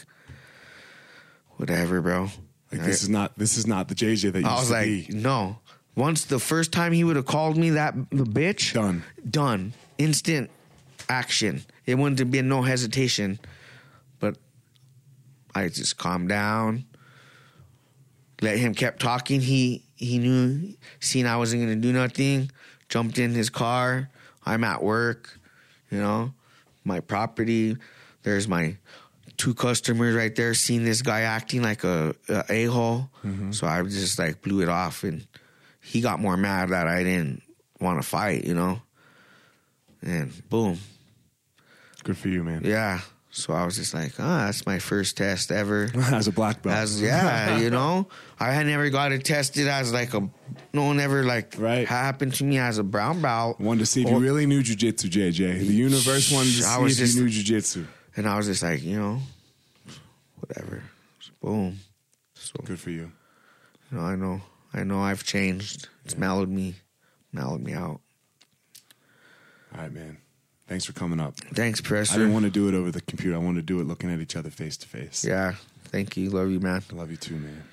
[SPEAKER 2] whatever, bro.
[SPEAKER 3] Like this is not this is not the JJ that you
[SPEAKER 2] I was like, no. Once the first time he would have called me that the bitch,
[SPEAKER 3] Done.
[SPEAKER 2] done, instant action. It wouldn't have been no hesitation. But I just calmed down, let him kept talking. He he knew, seen I wasn't gonna do nothing. Jumped in his car. I'm at work, you know, my property. There's my two customers right there. Seen this guy acting like a a hole, so I just like blew it off, and he got more mad that I didn't want to fight, you know. And boom,
[SPEAKER 3] good for you, man.
[SPEAKER 2] yeah. So I was just like, ah, that's my first test ever.
[SPEAKER 3] As a black belt,
[SPEAKER 2] As yeah, you know, I had never got it tested as like a no one ever like
[SPEAKER 3] Right.
[SPEAKER 2] happened to me as a brown belt.
[SPEAKER 3] wanted to see if you
[SPEAKER 2] Or-
[SPEAKER 3] really knew jujitsu, JJ. The universe wanted to
[SPEAKER 2] I
[SPEAKER 3] see
[SPEAKER 2] was
[SPEAKER 3] if
[SPEAKER 2] just-
[SPEAKER 3] you knew jujitsu.
[SPEAKER 2] And I was just like, you know, whatever. Boom. So
[SPEAKER 3] Good for you.
[SPEAKER 2] you know, I know, I know, I've changed. It's mellowed me, mellowed me out.
[SPEAKER 3] All right, man. Thanks for coming up.
[SPEAKER 2] Thanks,
[SPEAKER 3] I didn't
[SPEAKER 2] Presser.
[SPEAKER 3] want to do it over the computer. I wanted to do it looking at each other face to face.
[SPEAKER 2] yeah, thank you, love you, man.
[SPEAKER 3] I love you too, man.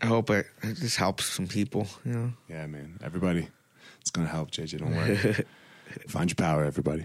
[SPEAKER 2] I hope it, it just helps some people. You know,
[SPEAKER 3] Yeah, man. Everybody, it's gonna help, JJ. Don't worry. Find your power, everybody.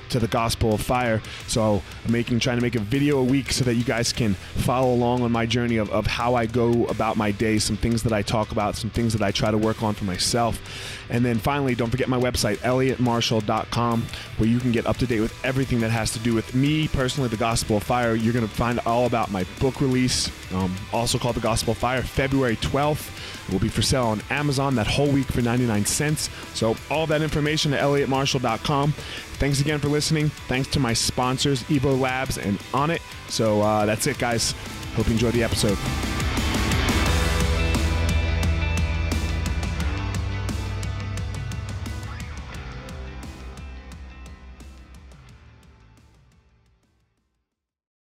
[SPEAKER 5] to the Gospel of Fire. So I'm making, trying to make a video a week so that you guys can follow along on my journey of, of how I go about my day, some things that I talk about, some things that I try to work on for myself. And then finally, don't forget my website, elliottmarshall.com, where you can get up to date with everything that has to do with me personally, the Gospel of Fire. You're going to find all about my book release, um, also called The Gospel of Fire, February 12th. It will be for sale on Amazon that whole week for 99 cents. So, all that information at elliottmarshall.com. Thanks again for listening. Thanks to my sponsors, Evo Labs and Onnit. So, uh, that's it, guys. Hope you enjoyed the episode.